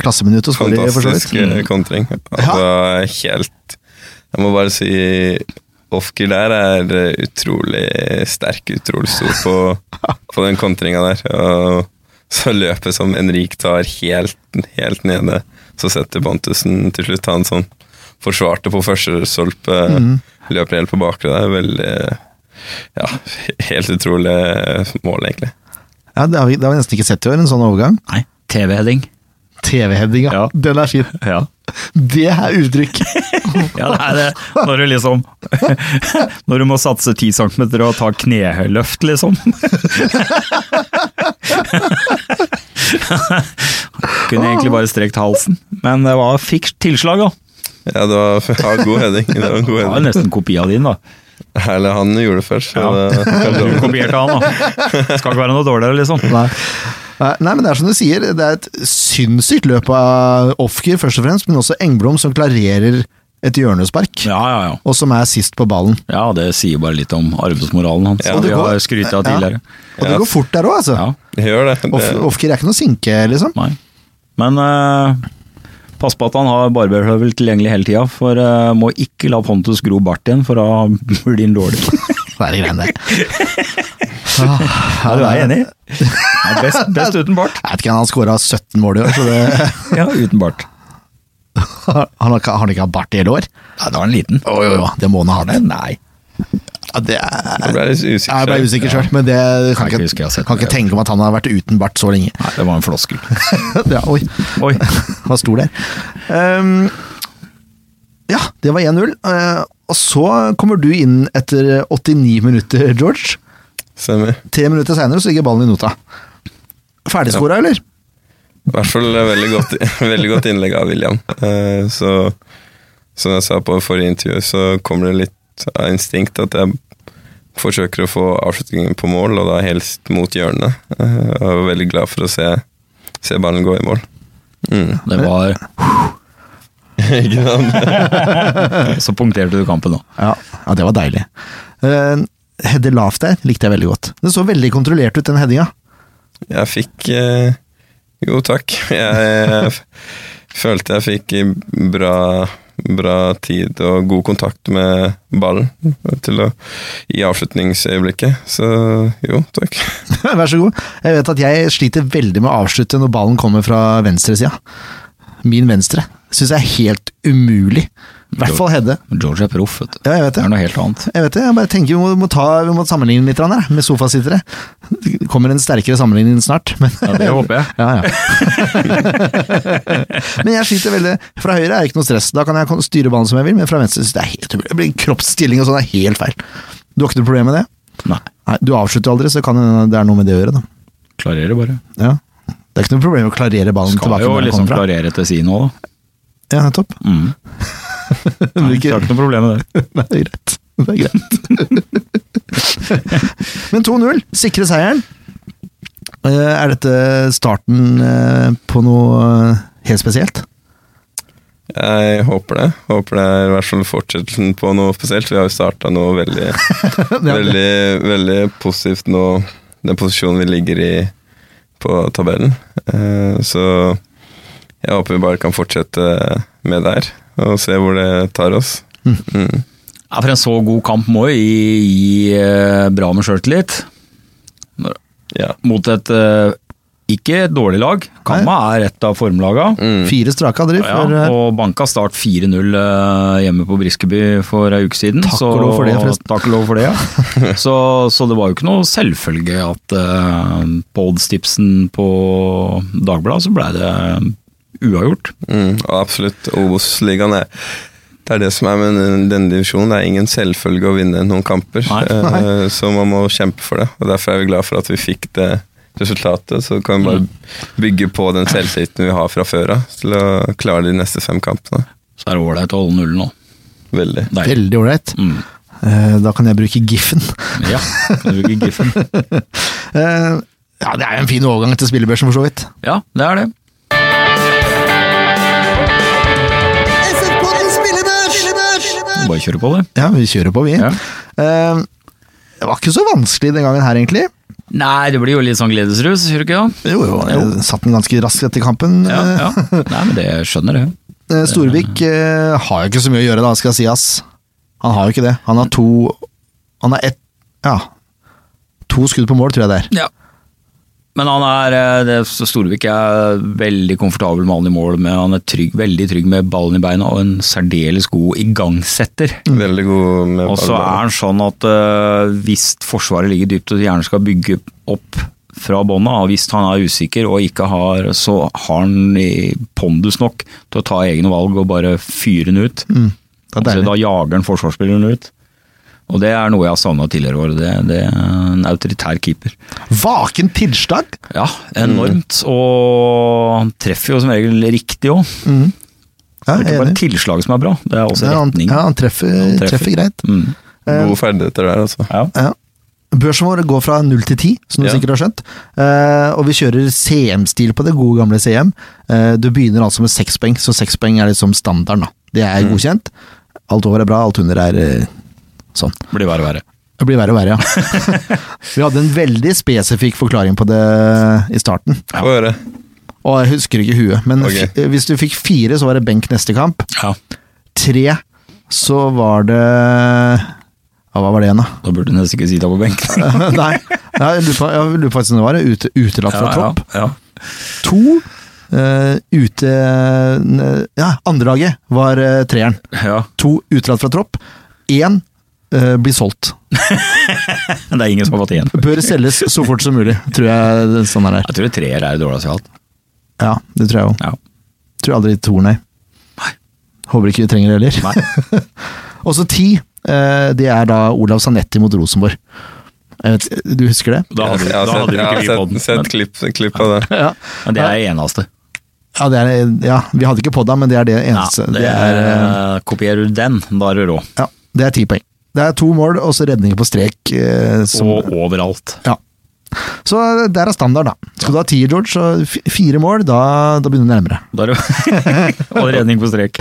A: klasseminutt å skåre, for så
D: Fantastisk
A: vidt.
D: eh, kontring. Altså, helt Jeg må bare si Ofker der er eh, utrolig sterk, utrolig stor på, på den kontringa der. Og så løpet som Henrik tar helt, helt nede, så setter Bantussen til slutt han sånn forsvarte på første stolpe, løper helt på bakre der. Veldig Ja, helt utrolig mål, egentlig.
A: Mm. Ja, det har, vi, det har vi nesten ikke sett i år, en sånn overgang.
C: Nei, TV-heading.
A: TV-headinga,
C: Ja.
A: den er fin.
C: Ja.
A: Det er uttrykk.
C: ja, det er det. Når du liksom (laughs) Når du må satse 10 cm og ta kneløft, liksom. (laughs) Kunne egentlig bare strekt halsen, men det var fikk tilslag, da.
D: Ja, det var (laughs) ja, god heading. Det var en god
C: Det var jo
D: heading.
C: nesten kopi av din, da.
D: Eller han gjorde det først. Så
C: Ja.
D: det,
C: Du kopierte han, da. Skal ikke være noe dårligere, liksom.
A: Nei. Nei, nei, men det er som du sier, det er et sinnssykt løp av Ofker først og fremst, men også Engblom som klarerer et hjørnespark,
C: Ja, ja, ja.
A: og som er sist på ballen.
C: Ja, Det sier bare litt om arbeidsmoralen hans,
D: Ja.
C: som vi
A: Og det går-
C: har skrytt av
A: Ja.
C: tidligere.
A: Og det
D: Ja.
A: går fort der òg, altså.
C: Ja,
D: (laughs) Gjør det. det.
A: Off- Ofker er ikke noe sinke, liksom.
C: nei. Men eh, pass på at han har barberhøvel tilgjengelig hele tida, for eh, må ikke la Pontus gro bart igjen, for da blir han dårlig.
A: Det er det greiene der.
C: (laughs)
A: Ah,
C: Ja, du er enig? Ja, best, best uten bart.
A: Jeg vet ikke, han har skåra 17 mål i år, så det, (laughs)
C: Ja, uten bart.
A: han har ikke han har ikke hatt bart i hele år.
C: Ja, da er han liten.
A: Å, jo, jo, det må han ha hatt.
C: Nei.
A: Ja, det er-
D: Jeg ble litt usikker
A: Jeg ble
D: selv.
A: usikker sjøl, men det kan
C: Jeg
A: ikke,
C: husker jeg har sett
A: kan
C: det.
A: ikke tenke om at han har vært uten bart så lenge. (laughs)
C: Nei, det var en floskel.
A: ja, oi,
C: Oi.
A: (laughs) var stor der. Ehm, ja, det var 1-0. eh, og så kommer du inn etter 89 minutter, George.
D: Stemmer.
A: Tre minutter seinere ligger ballen i nota. Ferdigskåra, eller?
D: I hvert fall et
A: (laughs)
D: veldig godt, (laughs) veldig godt innlegg av William. Eh, Så som jeg sa på forrige intervju, så kommer det litt av instinkt at jeg forsøker å få avslutningen på mål, og da helst mot hjørnet. Eh, Jeg var veldig glad for å se, se ballen gå
A: (laughs)
D: i mål. Mm.
C: Det var
D: Ikke sant?
C: Så punkterte du kampen nå.
A: Ja, ja det var deilig. Uh, Hedde lavt der, likte jeg veldig godt. Det så veldig kontrollert ut, den headinga. (laughs)
D: Jeg fikk eh, Jo, takk. (laughs) Jeg, jeg f- følte jeg fikk i bra, bra tid og god kontakt med ballen til å, i avslutningsøyeblikket. Så jo, takk.
A: Vær så god. Jeg vet at jeg sliter veldig med å avslutte når ballen kommer fra venstresida. Min venstre. Syns jeg er helt umulig. I hvert fall Hedde.
C: George er proff, vet du.
A: Ja, jeg vet
C: Det
A: det.
C: er noe helt annet.
A: Jeg vet det, jeg bare tenker vi må, må, ta, vi må sammenligne litt grann her, med sofasittere. Det kommer en sterkere sammenligning snart. Men,
C: Ja, det håper jeg.
A: (laughs) ja, ja. men jeg sliter veldig. Fra høyre er det ikke noe stress, da kan jeg kon- styre ballen som jeg vil, men fra venstre synes jeg det er helt umulig. Det blir Kroppsstilling og sånn er helt feil. Du har ikke noe problem med det?
C: Nei,
A: Nei, du avslutter aldri, så kan det hende det er noe med det å gjøre, da.
C: klarerer bare.
A: Ja. Det er ikke noe problem å klarere ballen
C: Skal
A: tilbake
C: jo
A: når den
C: liksom
A: kommer fra.
C: klarere til si nå, da.
A: Ja, nettopp.
C: Mm.
A: Det blir
C: Nei, (laughs) det
A: ikke
C: er ikke noe problem med det.
A: Nei, det er greit. Det er greit.
C: (laughs)
A: Men 2-0, sikre seieren. Eh, Er dette starten eh, på noe eh, helt
C: (laughs)
A: spesielt?
D: Jeg håper det. Håper det er i hvert fall fortsettelsen på noe spesielt. Vi har jo starta noe veldig, veldig, veldig positivt nå, den posisjonen vi ligger i på tabellen. Eh, Så jeg håper vi bare kan fortsette med det her, og se hvor det tar oss. Mm.
C: Ja, for en så god kamp må jo gi, gi eh, bra med sjøltillit.
D: Ja.
C: Mot et eh, ikke et dårlig lag. Kamma er et av formlaga.
D: Mm.
A: Fire strake hadde de
C: Ja,
A: for eh,
C: og banka start 4-0 eh, hjemme på Briskeby for ei uke siden.
A: Takk og lov for det, forresten.
C: Takk og lov for det, (laughs) ja. så, så det var jo ikke noe selvfølge at eh, på oddstipsen på Dagbladet så blei det eh, uavgjort.
D: Mm, og absolutt. Obos-ligaen er det er det som er med den- denne divisjonen. Det er ingen selvfølge å vinne noen kamper,
C: Nei.
D: Eh, så man må kjempe for det. Og Derfor er vi glad for at vi fikk det resultatet. Så kan vi
C: Mm.
D: bare bygge på den selvtilliten vi har fra før av, til å klare de neste fem kampene.
C: Så er det ålreit å holde nullen nå.
D: Veldig.
C: Deilig.
A: Veldig ålreit.
C: Mm.
A: Eh, Da kan jeg bruke Giffen. (laughs)
C: Ja, kan du bruke giffen.
A: Eh, Ja, det er jo en fin overgang til spillebørsen, for så vidt.
C: Ja, det er det. Bare kjøre på, det.
A: Ja, vi kjører på, vi.
C: Ja.
A: Eh, Det var ikke så vanskelig den gangen her, egentlig.
C: Nei, det blir jo litt sånn gledesrus, gjør det ikke det?
A: Jo, jo, jeg Eh, satt den ganske raskt etter kampen.
C: Ja,
A: Eh,
C: ja. Nei, men det jeg skjønner det.
A: Eh, Storvik eh, har jo ikke så mye å gjøre, da, skal sies. Han har jo ikke det. Han har to Han har ett Ja. To skudd på mål, tror jeg det er.
C: Ja. Men han er, eh, det, Storvik er veldig komfortabel med han i mål, men han er trygg, veldig trygg med ballen i beina og en særdeles god igangsetter.
D: Veldig god med
C: Og så er
D: ballen.
C: han sånn at eh, hvis Forsvaret ligger dypt og gjerne skal bygge opp fra bånda, og hvis han er usikker og ikke har, så har han i pondus nok til å ta egne valg og bare fyre den ut.
A: Mm. Det er
C: Altså,
A: deilig.
C: da jager han forsvarsspilleren ut. Og det er noe jeg har savna tidligere år. Det, det er en autoritær keeper.
A: Vaken tilslag!
C: Ja, enormt. Og han treffer jo som regel riktig òg.
A: Ja,
C: Det er
A: jeg
C: ikke
A: er
C: bare
A: enig.
C: tilslag som er bra, det er også
A: Ja, han,
C: retning.
A: ja, han treffer,
C: Han
A: treffer.
C: treffer.
A: greit.
C: Mm.
D: Gode ferdigheter der, altså.
C: Ja.
A: Ja. Børsen vår går fra 0 til 10, som du
D: Ja.
A: sikkert har skjønt. Eh, og vi kjører CM-stil på det, gode gamle CM. Eh, du begynner altså med seks poeng, så seks poeng er liksom standarden. da. Det er
C: Mm.
A: godkjent. Alt over er bra, alt under er eh, sånn.
C: Blir verre og verre.
A: Det blir verre og verre, ja.
C: (laughs)
A: vi hadde en veldig spesifikk forklaring på det i starten.
C: Ja.
D: Få høre.
A: Og jeg husker ikke huet, men
D: Ok.
A: fi- eh, hvis du fikk fire, så var det benk neste kamp.
C: Ja.
A: Tre, så var det ja, Hva var det igjen, da? (laughs)
C: Da burde du nesten ikke sitte på benken.
A: Nei, ja, jeg lurer på- jeg lurer faktisk på hvordan det var. Ute, utelatt fra tropp.
C: Ja, ja.
A: To eh, ute Ja, andrelaget var eh, treeren.
C: (laughs) Ja.
A: To utelatt fra tropp. Én eh, blir solgt.
C: Det er ingen som har fått igjen.
A: Bør selges så fort som mulig, tror jeg det- sånn er der.
C: Jeg tror det treer er det dårligste jeg har hatt.
A: Ja, det tror jeg òg.
C: Ja.
A: Tror aldri toer, nei.
C: Nei.
A: Håper ikke vi trenger det heller.
C: Nei.
A: (laughs) Og så ti, eh, det er da Olav Sanetti mot Rosenborg. Jeg vet, du husker det?
C: Da hadde,
D: Jeg har
C: da hadde
D: sett,
C: jo
D: jeg
C: ikke
D: har
C: vi
D: sett,
C: podden.
D: sett klipp, klipp av det.
A: Ja.
C: Men, men det er eneste.
A: Ja, det er, ja, vi hadde ikke podda, men det er det
C: Ja,
A: eneste.
C: det er, eh, kopierer du den, da er du rå.
A: Ja, det er ti poeng. Det er to mål og så redninger på strek. Eh, som,
C: Og overalt.
A: ja. Så eh, der er standard, da. Skal du ha ti, George, så fi- fire mål, da, da begynner du nærmere.
C: Da er du, (laughs) og redning på strek.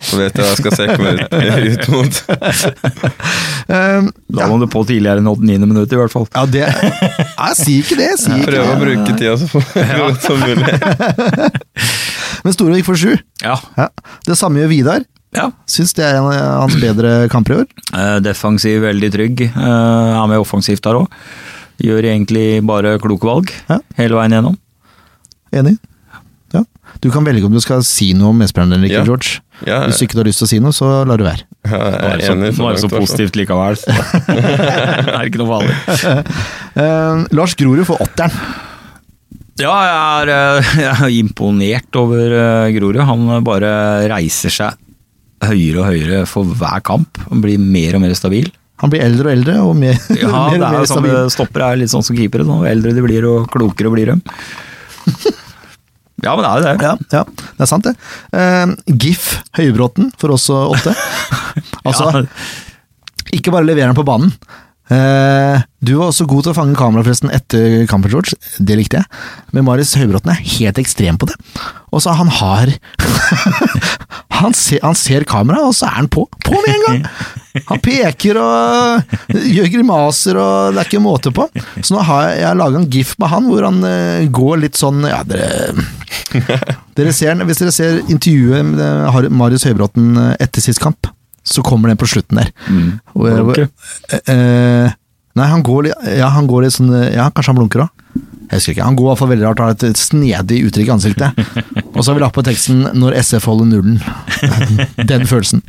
D: Så vet jeg hva jeg skal se meg ut, ut mot.
C: (laughs)
A: Um,
C: Da må du på tidligere enn 89. minutt, i hvert fall.
A: (laughs) ja, det Nei, si ikke det! Si ikke
D: Prøve å
A: det.
D: bruke tida så godt som mulig.
C: (laughs)
A: Men Storvik får sju.
C: Ja.
A: Ja. Det samme gjør Vidar.
C: ja.
A: Syns det er en av hans bedre kamper i år.
C: Eh, Defensiv, veldig trygg. Eh, Er med offensivt der òg. Gjør egentlig bare kloke valg
A: Ja.
C: hele veien gjennom.
A: Enig? Ja. Du kan velge om du skal si noe om medspilleren eller ikke,
D: Ja.
A: George.
D: Ja,
A: Hvis du ikke har lyst til å si noe, så lar du være.
D: ja,
C: Nå er
D: jeg
C: det
D: er
C: så,
D: enig.
C: nå er det så
D: langt, i hvert fall.
C: positivt likevel. så. (laughs) det er ikke noe farlig.
A: Eh, Lars Grorud får åtteren.
C: Ja, jeg er, eh, (laughs) jeg er imponert over eh, Grorud. Han eh, bare reiser seg høyere og høyere for hver kamp. Han blir mer og mer
A: (laughs)
C: stabil.
A: Han blir eldre og eldre og (laughs) mer,
C: Ja,
A: mer og
C: det er
A: mer
C: jo sånn
A: stabil.
C: med Stoppere er litt sånn som keepere. Sånn. Jo eldre de blir, og klokere
A: (laughs)
C: blir de. Ja, men det er jo det.
A: Ja, ja, det er sant det. Eh, GIF Høybråten får også åtte. altså,
C: Ja.
A: ikke bare leverer han på banen. Eh, du var også god til å fange kamera forresten etter kampen, George. Det likte jeg. Men Marius Høybråten er helt ekstrem på det. Og så han har (laughs) han, ser, han ser kamera, og så er han på. På med en gang! Han peker og gjør grimaser, og det er ikke måte på. Så nå har jeg, jeg laga en gif med han hvor han eh, går litt sånn Ja, dere dere ser, den- hvis dere ser intervjuet med eh, Har- Marius Høybråten eh, etter sist kamp, så kommer den på slutten der.
C: Mm.
A: Hvor- hvor-
C: Blunker.
A: eh, eh, nei, han går litt Ja, han går litt sånn eh, Ja, kanskje han blunker òg. Jeg husker ikke. Han går i hvert fall veldig rart og har et snedig uttrykk i ansiktet.
C: (laughs)
A: Og så har vi lagt på teksten 'Når SF holder nullen'. (laughs) Den følelsen.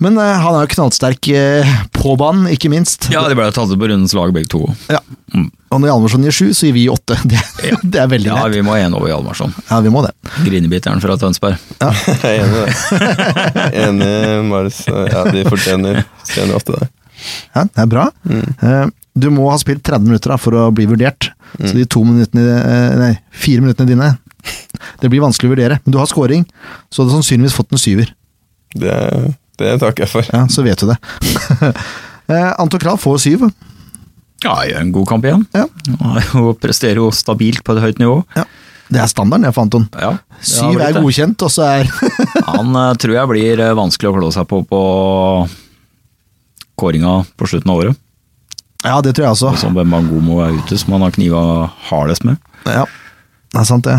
A: Men eh, han er jo knallsterk eh, på banen, ikke minst.
C: Ja, de ble tatt ut på rundens lag, begge to.
A: Ja. Og når Hjalmarsson gir sju, så gir vi åtte. (laughs) Det, det er veldig
C: Ja,
A: greit.
C: vi må ha en over Hjalmarsson.
A: Ja, vi må det.
C: Grinebiteren fra Tønsberg.
D: (laughs) Jeg er enig i det.
C: (laughs)
D: Enig Marius. Ja, de fortjener, fortjener åtte der.
A: Ja, det er bra.
C: Mm.
A: Eh, Du
C: Mm.
A: må ha spilt 30 minutter da, for å bli vurdert. Så de to minuttene, eh, nei, fire minuttene dine Det blir vanskelig å vurdere, men du har scoring, så du har sannsynligvis fått en syver.
D: Det, det takker jeg for.
A: Ja, så vet du det. (laughs) Eh, Anton Krahl får syv.
C: Ja, jeg gjør en god kamp igjen.
A: Ja.
C: Han er jo- presterer jo stabilt på et høyt nivå.
A: Ja. Det er standarden jeg for Anton.
C: Ja, det har
A: Syv
C: blitt
A: er
C: det.
A: godkjent, og så er (laughs)
C: Han eh, tror jeg blir eh, vanskelig å klå seg på på kåringa på slutten av året.
A: Ja, det tror jeg
C: Og
A: også.
C: som Bembangomo er ute, som han har kniva hardest med.
A: Ja, det er sant, det.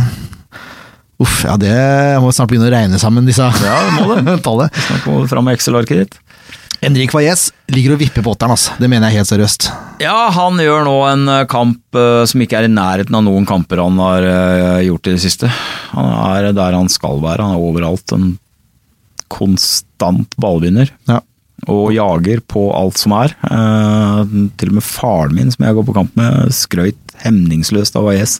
A: Uff, ja det jeg må snart begynne å regne sammen disse
C: Ja, du må
A: (laughs)
C: det.
A: tallet.
C: Nå kommer du fram med Excel-arket ditt.
A: Henrik Valles ligger og vipper på åtteren, altså. Det mener jeg helt seriøst.
C: Ja, han gjør nå en eh, kamp eh, som ikke er i nærheten av noen kamper han har eh, gjort i det siste. Han er der han skal være, han er overalt. En konstant ballvinner.
A: Ja.
C: Og jager på alt som er. Eh, til og med faren min, som jeg går på kamp med, skrøyt hemningsløst av E AIS.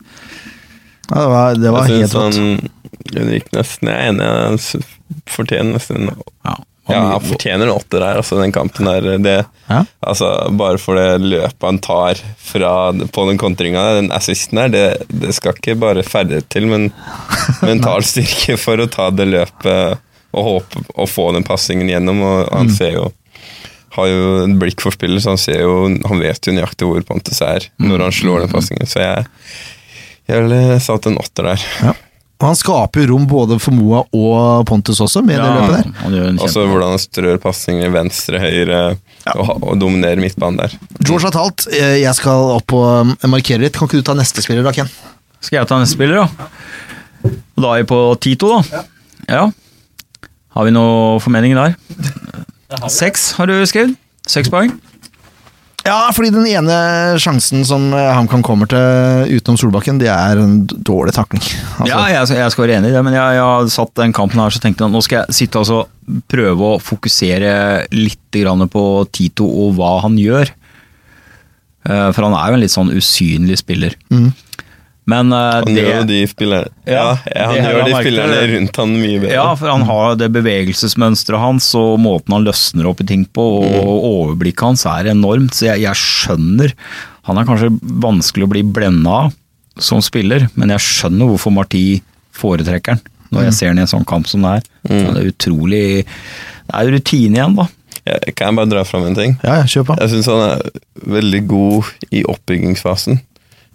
A: Ja, det var, det var
D: Jeg
A: helt
D: syns
A: rått.
D: han Henrik nesten Jeg er enig, han s- fortjener nesten en
C: Ja,
D: Ja,
C: han-
D: han fortjener en åtter her, altså, den kampen der. Det,
A: Ja.
D: altså, bare for det løpet han tar fra, på den kontringa, den assisten her, det, det skal ikke bare ferdighet til,
A: (laughs)
D: men mental styrke for å ta det løpet og håpe å få den passingen gjennom. Og han
A: Mm.
D: ser jo har jo et blikk for spillet, så han ser jo Han vet jo nøyaktig hvor Pontus er når han slår den
A: Mm.
D: passingen, så jeg jeg ville satt en åtter der.
A: Ja. Og han skaper jo rom både for Moa og Pontus også, med det løpet der.
C: Han gjør en kjempe...
D: Altså hvordan han strør pasninger venstre, høyre og, ha- og dominerer midtbanen der.
A: George har talt. Eh, Jeg skal opp og eh, markere litt. Kan ikke du ta neste spiller, da, Ken?
C: Skal jeg ta neste spiller, da? Da er vi på Tito, da. Ja. Har vi noe formening der? Seks har du skrevet. Seks poeng.
A: Ja, fordi den ene sjansen som eh, HamKam kommer til eh, utenom Solbakken, det er en d- dårlig takling.
C: Ja,
A: Altså,
C: jeg, jeg skal være enig i det, men jeg, jeg har satt den kampen her, så tenkte jeg at nå skal jeg sitte og så prøve å fokusere litt grann på Tito og hva han gjør. Eh, For han er jo en litt sånn usynlig spiller.
A: Mm.
C: Men eh,
D: Han
C: det
D: gjør jo de spillerne Ja,
C: Ja,
D: han
C: det har jeg
D: gjør de
C: merket.
D: spillerne rundt han mye bedre.
C: Ja, for han har det bevegelsesmønsteret hans og måten han løsner opp i ting på, og
A: Mm.
C: overblikket hans er enormt, så jeg, jeg skjønner Han er kanskje vanskelig å bli blenda av som spiller, men jeg skjønner hvorfor Marti foretrekker han når
A: Mm.
C: jeg ser han i en sånn kamp som det her. Det er utrolig Det er rutine igjen, da.
D: Jeg, kan jeg bare dra fram en ting?
A: ja, ja kjør på.
D: Jeg syns han er veldig god i oppbyggingsfasen.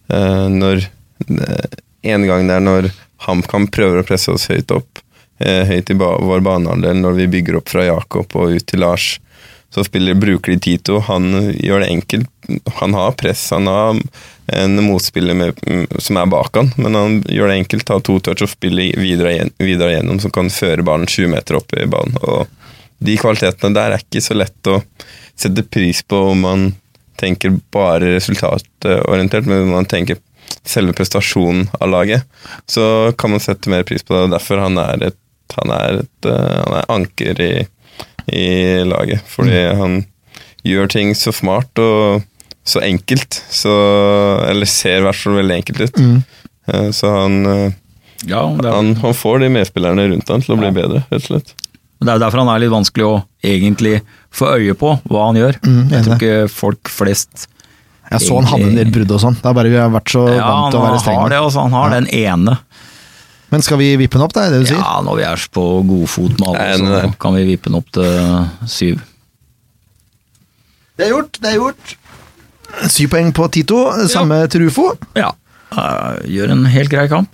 D: Eh, når eh, En gang der når HamKam prøver å presse oss høyt opp, eh, høyt i ba vår banehalvdel, når vi bygger opp fra Jakob og ut til Lars, så spiller, bruker de Tito. Han gjør det enkelt. Han har press, han har en motspiller med, som er bak han, men han gjør det enkelt. Tar to touch og spiller videre, igjen- videre gjennom, som kan føre ballen 20 meter opp i banen. og de kvalitetene der er ikke så lett å sette pris på om man tenker bare resultatorientert, men om man tenker selve prestasjonen av laget, så kan man sette mer pris på det. og Derfor han er et, han er et eh, han er anker i, i laget. Fordi han gjør ting så smart og så enkelt, så, eller ser i hvert fall veldig enkelt ut. Eh, Så han, eh,
C: Ja, det er,
D: han, han får de medspillerne rundt han til å bli bedre, rett og slett.
C: det er jo derfor han er litt vanskelig å egentlig få øye på hva han gjør.
A: Mm,
C: jeg tror
A: enig.
C: ikke folk flest
A: Jeg så han hadde en del brudd og sånn. Det er bare vi har vært så
C: Ja,
A: vant
C: han
A: til å være
C: har det,
A: strenge.
C: altså. Han har den ene.
A: Men skal vi vippe den opp, da? Er det det du sier?
C: Ja, når vi er på god fot med
D: Jeg er
C: alle,
D: enig
C: så
D: der.
C: kan vi vippe den opp til syv.
A: Det er gjort, det er gjort. Syv poeng på Tito, samme til Rufo.
C: Ja. Eh, Gjør en helt grei kamp.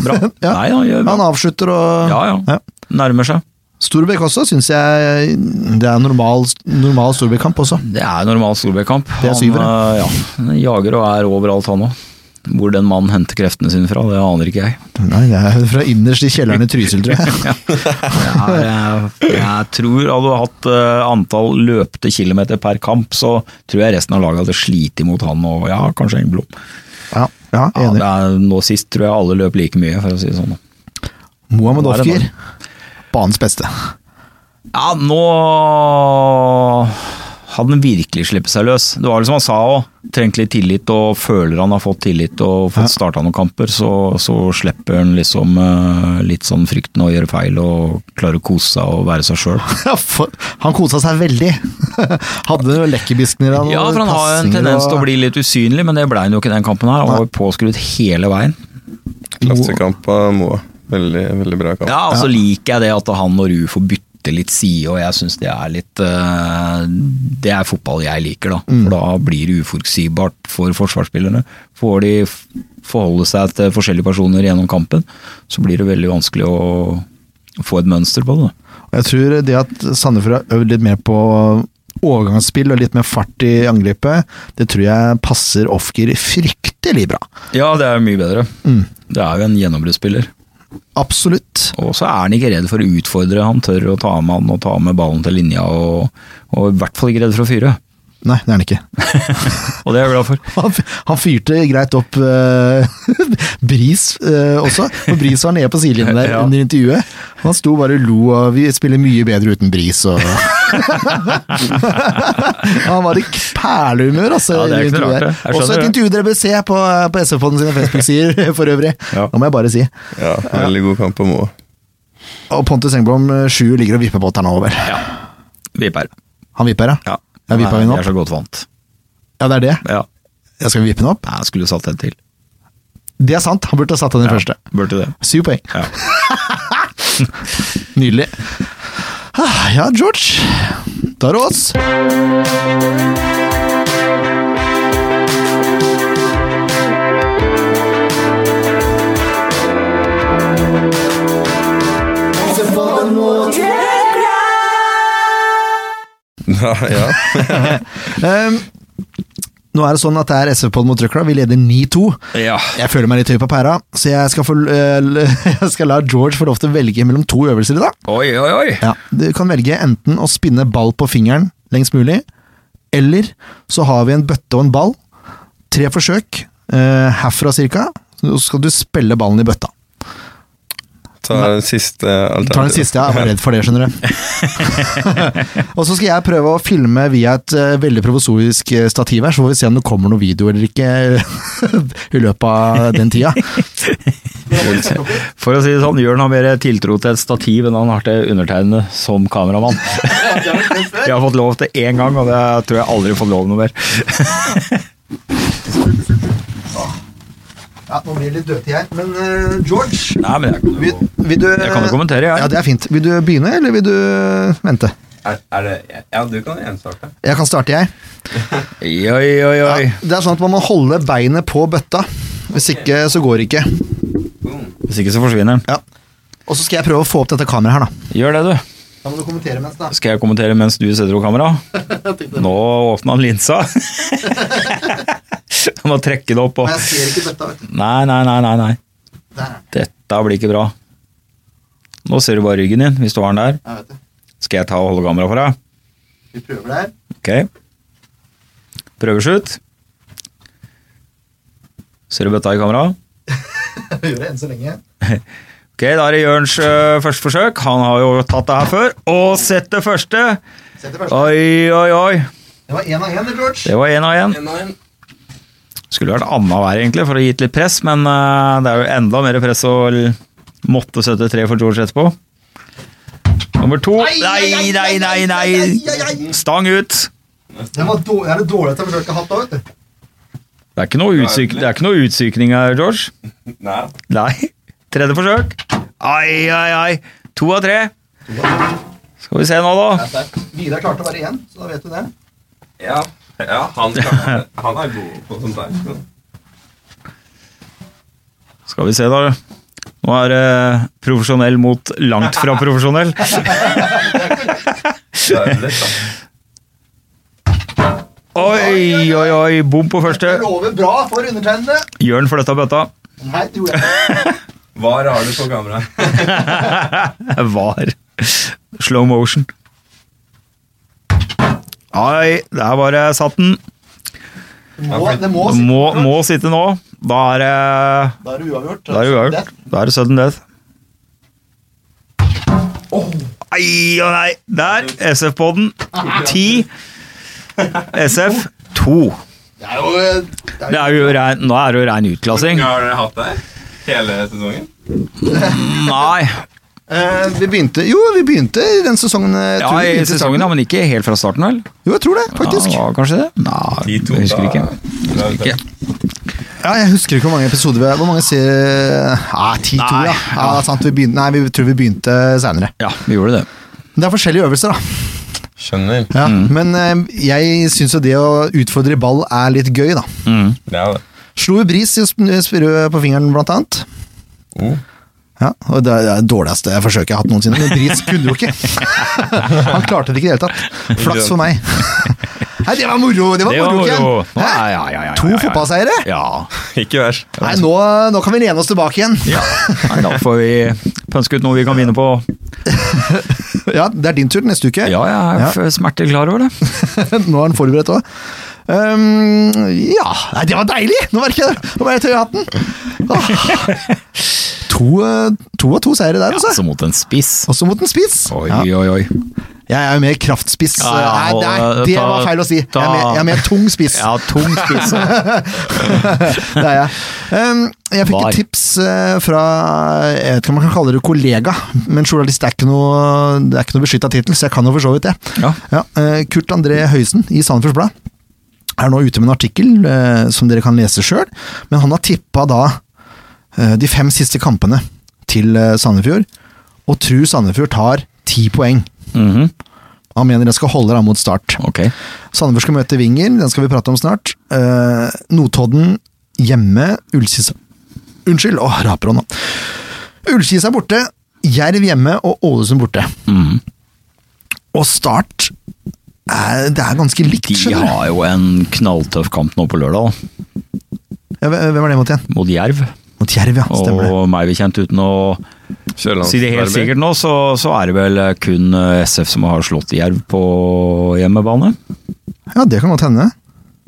C: Bra.
A: (laughs) Ja.
C: Nei, han gjør
A: Han
C: bra.
A: avslutter og
C: Ja, ja. Nærmer seg.
A: Storbekk også, syns jeg det er normal, normal Storbekk-kamp også.
C: Det er normal Solbekk-kamp.
A: Det er syvere.
C: Han, eh, ja. Han jager og er overalt, han òg. Hvor den mannen henter kreftene sine fra, det aner ikke jeg.
A: Nei, det er fra innerst i kjelleren i Trysil, tror jeg.
C: Ja. Jeg, jeg, eh, jeg tror hadde du hatt eh, antall løpte kilometer per kamp, så tror jeg resten av laget hadde slitt imot han og ja, kanskje Engblom.
A: Ja, ja
C: Ja, det
A: enig.
C: er, nå sist tror jeg alle løp like mye, for å si det sånn.
A: Mohammed
C: Nå er det
A: Ofker, banens beste.
C: Ja, nå hadde han virkelig sluppet seg løs. Det var det som han sa òg. Trengte litt tillit, og føler han har fått tillit og fått starta noen kamper, så, så slipper han liksom eh, litt sånn frykten å gjøre feil og klarer å kose seg og være seg sjøl.
A: Ja, (laughs) for- Han kosa seg veldig. (laughs) Hadde jo lekkerbiskener og
C: Ja, for han har jo en
A: passinger
C: tendens til å
A: og-
C: bli litt usynlig, men det ble han jo ikke i den kampen her. Han var jo påskrudd hele veien.
D: Klassekamp av Moa. Veldig, veldig bra kamp.
C: Ja, og så liker jeg det at han og Ruud får bytte litt side, og jeg syns det er litt eh, Det er fotball jeg liker, da. For da blir det uforutsigbart for forsvarsspillerne. Får de f- forholde seg til forskjellige personer gjennom kampen, så blir det veldig vanskelig å å få et mønster på det. da.
A: Og Jeg tror det at Sandefjord har øvd litt mer på overgangsspill og litt mer fart i angrepet, det tror jeg passer Ofker fryktelig bra.
C: Ja, det er mye bedre. Mm. Det er jo en gjennombruddsspiller.
A: Absolutt.
C: Og så er han ikke redd for å utfordre. Han tør å ta med han og ta med ballen til linja, og, og i hvert fall ikke redd for å fyre.
A: Nei, det er han ikke.
C: Og det er jeg glad for.
A: Han, f- han fyrte greit opp eh, (laughs) Bris eh, også, for Bris var nede på sidelinjen der
C: Ja.
A: under intervjuet. Han sto bare og lo og vi spiller mye bedre uten Bris og (laughs) Han var i perlehumør, altså.
C: Ja, det er
A: i
C: ikke noe
A: intervjuet
C: rart,
A: her.
C: det. Jeg skjønner
A: Også et
C: det.
A: intervju dere bør se på, eh, på SF-podden sine Facebook-sider (laughs) for øvrig.
C: Ja.
A: Det må jeg bare si.
D: Ja, veldig god kamp av Moa.
A: Og Pontus Engblom, eh, sju, ligger og vipper på her nå, vel.
C: Ja. Vipper.
A: Han vipper, ja?
C: Ja.
A: Ja, vippa hun opp?
C: Jeg er så godt vant.
A: Ja, det er det.
C: Ja.
A: Jeg skal vippe den opp?
C: Nei, Jeg skulle satt en til.
A: Det er sant, han burde ha satt den i første.
C: Burde det.
A: Syv poeng.
C: Ja.
A: Nydelig. Ah, Ja, George. Da er det oss.
D: Ja, ja.
A: (laughs) Um, nå er det sånn at det er SV-pod mot Røkla. Vi leder 9-2.
C: (laughs) ja.
A: Jeg føler meg litt høy på pæra, så jeg skal, få, eh, l- (laughs) jeg skal la George få lov til å velge mellom to øvelser i dag.
C: Oi, oi, oi.
A: Ja, du kan velge enten å spinne ball på fingeren lengst mulig, eller så har vi en bøtte og en ball. Tre forsøk, eh, herfra cirka, så skal du spille ballen i bøtta.
D: Ta den siste
A: Ta den
D: alternativet.
A: siste, ja. jeg var redd for det, skjønner du.
C: (laughs)
A: og så skal jeg prøve å filme via et eh, veldig provosorisk eh, stativ her, så får vi se om det kommer noe video eller ikke (laughs) i løpet av den tida.
C: For å si det sånn, Jørn har mer tiltro til et stativ enn han har til undertegnede som (laughs) kameramann. Jeg har fått lov til én gang, og det tror jeg aldri har fått lov noe mer.
A: Ja, nå blir det litt dødtid her, men eh, George
C: Nei, men jeg kan
A: vil,
C: jo
A: vil du
C: Jeg kan jo kommentere, jeg.
A: Ja, det er fint. Vil du begynne, eller vil du eh, vente?
D: Er, det Ja, du kan enstarte.
A: Jeg kan starte, jeg.
C: Oi, oi, oi.
A: Ja, det er sånn at man må holde beinet på bøtta. Hvis ikke, så går det ikke.
C: Hvis ikke så forsvinner den.
A: Ja. Og så skal jeg prøve å få opp dette kameraet her, da.
C: Gjør det, du.
A: Da må du kommentere mens, (laughs) da.
C: Skal jeg kommentere mens du setter opp kamera? Nå åpna han linsa. (laughs) Han må trekke det opp og
A: jeg ser ikke bøtta, vet du.
C: Nei, nei, nei, nei. nei.
A: Der er den.
C: Dette blir ikke bra. Nå ser du bare ryggen din, hvis du har den der.
A: Jeg vet det.
C: Skal jeg ta og holde kameraet for deg?
A: Vi prøver der.
C: Ok. Prøveslutt. Ser du bøtta i kameraet?
A: (laughs) Vi gjør det enn så lenge.
C: Ok, da er det Jørns øh, første forsøk. Han har jo tatt det her før. Og sett det første!
A: Sett det første.
C: Oi, oi, oi.
A: Det var én av én, George.
C: Det var én av én. Skulle vært annenhver, egentlig, for å gi litt press, men øh, det er jo enda mer press å l- måtte sette tre for George etterpå. Nummer to. Nei, nei, nei, nei! Stang ut.
A: Det var dårlig, det er det dårligste forsøket jeg har hatt da, vet du.
C: Det er ikke noe, utsyk det er ikke noe utsykning her, George.
D: Nei.
C: Nei. Tredje forsøk. Ai, ai, ai. To av tre. Skal vi se nå, da.
A: Vidar klarte bare én, så da vet du det.
D: Ja. ja han, kan, han er god på sånt der.
C: Skal vi se, da. Nå er det profesjonell mot langt fra profesjonell.
D: Det er lett, da.
C: Oi, oi, oi. Bom på første.
A: lover bra for undertegnede.
C: Jørn flytta bøtta.
A: Nei, det gjorde jeg ikke.
D: Hva har du på kamera?
C: Var. Slow motion. Ai, der bare satt den.
A: Det må, det må sitte.
C: Må, må sitte nå. Da er det
A: Da er det uavgjort.
C: Da er det uavgjort. Da er det sudden death. Ai og nei. Der. SF-poden. Ti. SF to.
A: Det er jo eh, det er
C: Det er jo rein, nå er det jo rein utklassing.
D: (laughs) har dere hatt der? Hele sesongen?
C: Nei.
A: Eh, vi begynte Jo, vi begynte i den sesongen. eh,
C: Ja,
A: tror vi
C: i
A: begynte i starten.
C: sesongen, ja, men ikke helt fra starten, vel?
A: Jo, jeg tror det,
C: Ja,
A: faktisk.
C: det var kanskje det? Nei, jeg husker ikke.
D: ikke.
A: Ja, jeg husker ikke hvor mange episoder vi har. Hvor mange sier Ja, 10-2,
C: Nei,
A: ja. ja. det er sant. Vi begynte, nei, vi tror vi begynte seinere.
C: Ja, vi gjorde det.
A: Det er forskjellige øvelser, da.
D: Skjønner.
A: Ja,
C: Mm.
A: Men eh, jeg syns jo det å utfordre i ball er litt gøy, da.
C: Mm.
D: Ja, det.
A: Slo jo bris i å sp- spurve på fingeren, blant annet.
D: Oh.
A: Ja, og Det er det dårligste forsøket jeg har hatt noensinne, men Bris kunne jo
C: (laughs)
A: ikke. Han klarte det ikke i det hele tatt. Flaks for
C: (laughs)
A: meg. Nei, det var moro! Det var
C: Det var
A: moro, Ken.
C: moro.
A: Hæ?
C: Ja, ja, ja, ja, ja,
A: To
C: ja.
A: fotballseiere?
C: Ja.
D: Ikke verst.
A: Nei, nå, nå kan vi lene oss tilbake igjen.
C: ja. Nei, da får vi pønske ut noe vi kan vinne på. (laughs)
A: Ja, Det er din tur neste uke.
C: Ja, jeg er f- smertelig klar over det.
A: (laughs) Nå er han forberedt òg. Um, ja Nei, det var deilig! Nå merker jeg det! Nå ble jeg tøy i hatten. Åh. To, eh, to av to seire der, altså.
C: Altså mot en spiss.
A: Også mot en spiss.
C: Oi,
A: Ja.
C: oi, oi.
A: Jeg er jo mer kraftspiss.
C: Ja, ja,
A: nei, nei,
C: og, eh,
A: det
C: ta-
A: var feil å si. Jeg er
C: ta-
A: mer, jeg er mer tung spiss.
C: Ja, tung spiss.
A: (laughs) det er jeg. Um, jeg fikk
C: Var.
A: et tips eh, fra Jeg vet ikke om man kan kalle det kollega, men journalist er ikke noe, det er ikke noe beskytta tittel, så jeg kan jo for så vidt det.
C: Ja.
A: eh, Kurt André Høisen i Sandefjords Blad er nå ute med en artikkel eh, som dere kan lese sjøl, men han har tippa da eh, de fem siste kampene til eh, Sandefjord, og tror Sandefjord tar ti poeng.
C: Mhm,
A: Han mener det skal holde da mot start.
C: Ok.
A: Sandefjord skal møte Vinger, den skal vi prate om snart. Eh, Notodden hjemme, Ullkisa Unnskyld, åh, raper han nå. Ullkisa er borte, Jerv hjemme og Ålesund borte.
C: Mhm.
A: Og Start eh, Det er ganske likt,
C: De
A: skjønner du.
C: har jo en knalltøff kamp nå på lørdag, da,
A: Ja, hve- hvem er det mot igjen?
C: mot Jerv.
A: Mot Jerv, ja. Stemmer det.
C: Og meg bekjent, uten å
D: Sørlands-
C: si det helt sikkert nå, så, så er det vel kun eh, SF som har slått Jerv på hjemmebane.
A: Ja, det kan godt hende.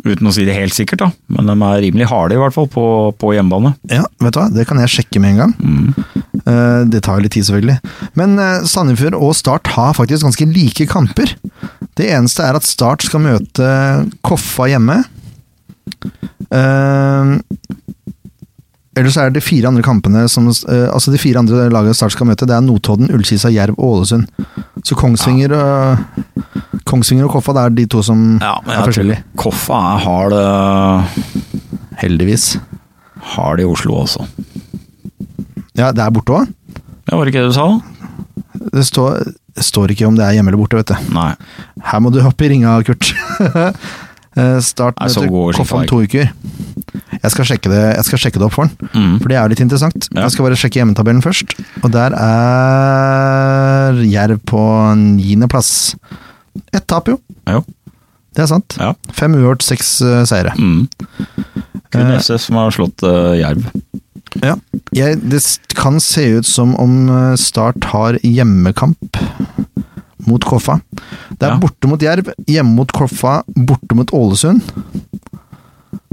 C: Uten å si det helt sikkert, da. Men de er rimelig harde, i hvert fall, på, på hjemmebane.
A: Ja, vet du hva, det kan jeg sjekke med en gang. Eh, det tar jo litt tid, selvfølgelig. Men eh, Sandefjord og Start har faktisk ganske like kamper. Det eneste er at Start skal møte Koffa hjemme. Uh, ellers er det fire andre kampene som eh, Altså, de fire andre lagene Start skal møte, det er Notodden, Ullkisa, Jerv og Ålesund. Så Kongsvinger og Kongsvinger og Koffa, det er de to som er forskjellige.
C: Koffa er hard, eh,
A: Heldigvis.
C: hard i Oslo også.
A: Ja, det er borte òg.
C: Ja, var det ikke det du sa? da?
A: Det står, står ikke om det er hjemme eller borte, vet du.
C: Nei.
A: Her må du hoppe i ringa, Kurt. (laughs) Eh, Start
C: Nei, så går
A: møter Koff om
C: Skipper.
A: to uker. Jeg skal, sjekke det, jeg skal sjekke det opp for den,
C: Mm.
A: for det er jo litt interessant.
C: Ja.
A: Jeg skal bare sjekke hjemmetabellen først, og der er Jerv på niendeplass. Ett tap, jo.
C: Jo.
A: Det er sant.
C: Ja.
A: Fem uavgjort, seks eh, seire.
C: Mm. Kun
A: Eh.
C: SF som har slått eh, Jerv.
A: Ja. Jeg, det s- kan se ut som om eh, Start har hjemmekamp mot Koffa. Det er
C: Ja.
A: borte mot Jerv, hjemme mot Koffa, borte mot Ålesund.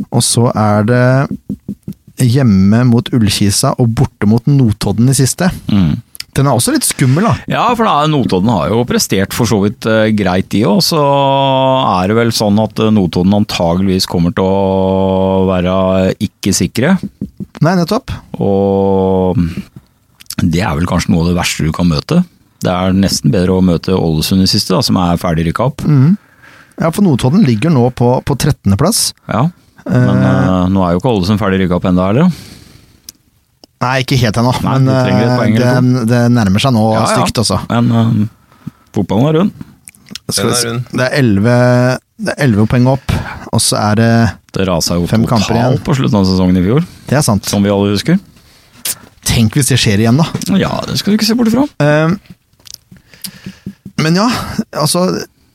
A: Og så er det hjemme mot Ullkisa og borte mot Notodden i siste.
C: Mm.
A: Den er også litt skummel, da.
C: Ja, for da, Notodden har jo prestert for så vidt eh, greit, de òg. Så er det vel sånn at eh, Notodden antageligvis kommer til å være ikke sikre.
A: Nei, nettopp.
C: Og mm, det er vel kanskje noe av det verste du kan møte. Det er nesten bedre å møte Ålesund i siste, da, som er ferdig rykka opp.
A: Mm. Ja, For Notodden ligger nå på, på 13.-plass.
C: Ja. Men eh, nå er jo ikke Ålesund ferdig rykka opp ennå heller. da.
A: Nei, ikke helt ennå,
C: Nei,
A: men
C: du trenger et
A: eh,
C: poeng eller
A: det, det nærmer seg nå stygt, altså.
C: Men eh, fotballen er rund.
A: Skal
D: Den
A: vi
D: er
A: se.
D: rund.
A: Det er 11, det er 11 poeng opp, og så er det
C: Det rasa jo
A: Fem kamper igjen.
C: totalt på slutten av sesongen i fjor,
A: Det er sant.
C: som vi alle husker.
A: Tenk hvis det skjer igjen, da.
C: Ja, det skal du ikke se bort ifra.
A: Eh, men ja, altså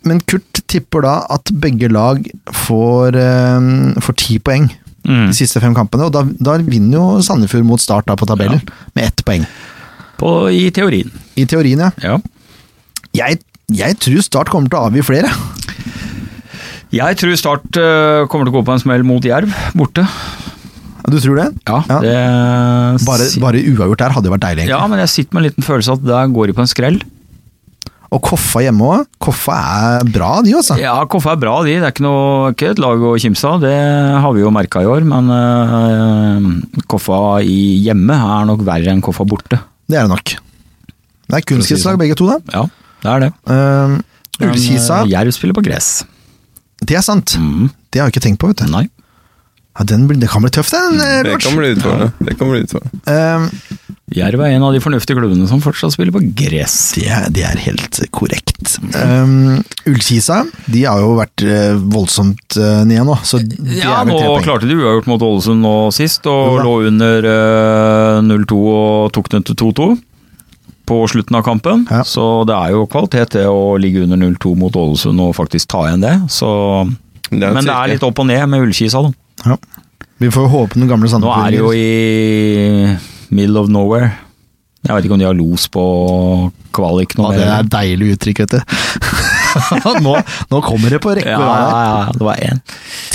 A: Men Kurt tipper da at begge lag får, eh, får ti poeng
C: Mm.
A: de siste fem kampene, og da, da vinner jo Sandefjord mot Start da på tabellen med ett poeng.
C: På, I teorien.
A: I teorien, ja.
C: Ja.
A: Jeg, jeg tror Start kommer til å avgi flere.
C: Jeg tror Start eh, kommer til å gå på en smell mot Jerv, borte.
A: Du tror det?
C: Ja,
A: Ja.
C: Det,
A: Bare, bare uavgjort der hadde jo vært deilig.
C: ja,
A: egentlig.
C: men jeg sitter med en liten følelse at der går de på en skrell.
A: Og Koffa hjemme òg. Koffa er bra, de, altså.
C: Ja, Koffa er bra, de. Det er ikke, noe, ikke et lag å kimse av. Det har vi jo merka i år. Men eh, Koffa i hjemme er nok verre enn Koffa borte.
A: Det er det nok. Det er kunstgresslag, begge to, da.
C: Ja, det er det.
A: Uh,
C: sånn. Men, eh,
A: Ullkisa,
C: Jerv spiller på gress.
A: det er sant.
C: Mm,
A: Det har jeg ikke tenkt på, vet du.
C: nei.
A: Ja, den, blir- det kan bli tøft, den, eh,
D: Det
A: Lars.
D: kan bli utfordrende. Det kan bli utfordrende.
A: Eh,
C: Jerv er en av de fornuftige klubbene som fortsatt spiller på gress.
A: det, er- det er helt korrekt. Um, Ullkisa de har jo vært eh, voldsomt eh, nede nå, så de
C: Ja,
A: er vel
C: nå
A: tre poeng.
C: klarte de uavgjort mot Ålesund nå sist, og
A: Jo da.
C: lå under eh, 0-2 og tok den til 2-2 på slutten av kampen.
A: Ja.
C: Så det er jo kvalitet det å ligge under 0-2 mot Ålesund og faktisk ta igjen det. Så,
D: Det er en
C: men det
D: styrke.
C: er litt opp og ned med Ullkisa. Da.
A: Ja. Vi får håpe den gamle
C: Nå
A: Sandefjord
C: er det jo i middle of nowhere. Jeg vet ikke om de har los på kvalik nå.
A: Ja, det er deilig uttrykk, vet du. (laughs) nå, nå kommer det på rekke
C: ja,
A: og rad. her.
C: ja, ja, det var én.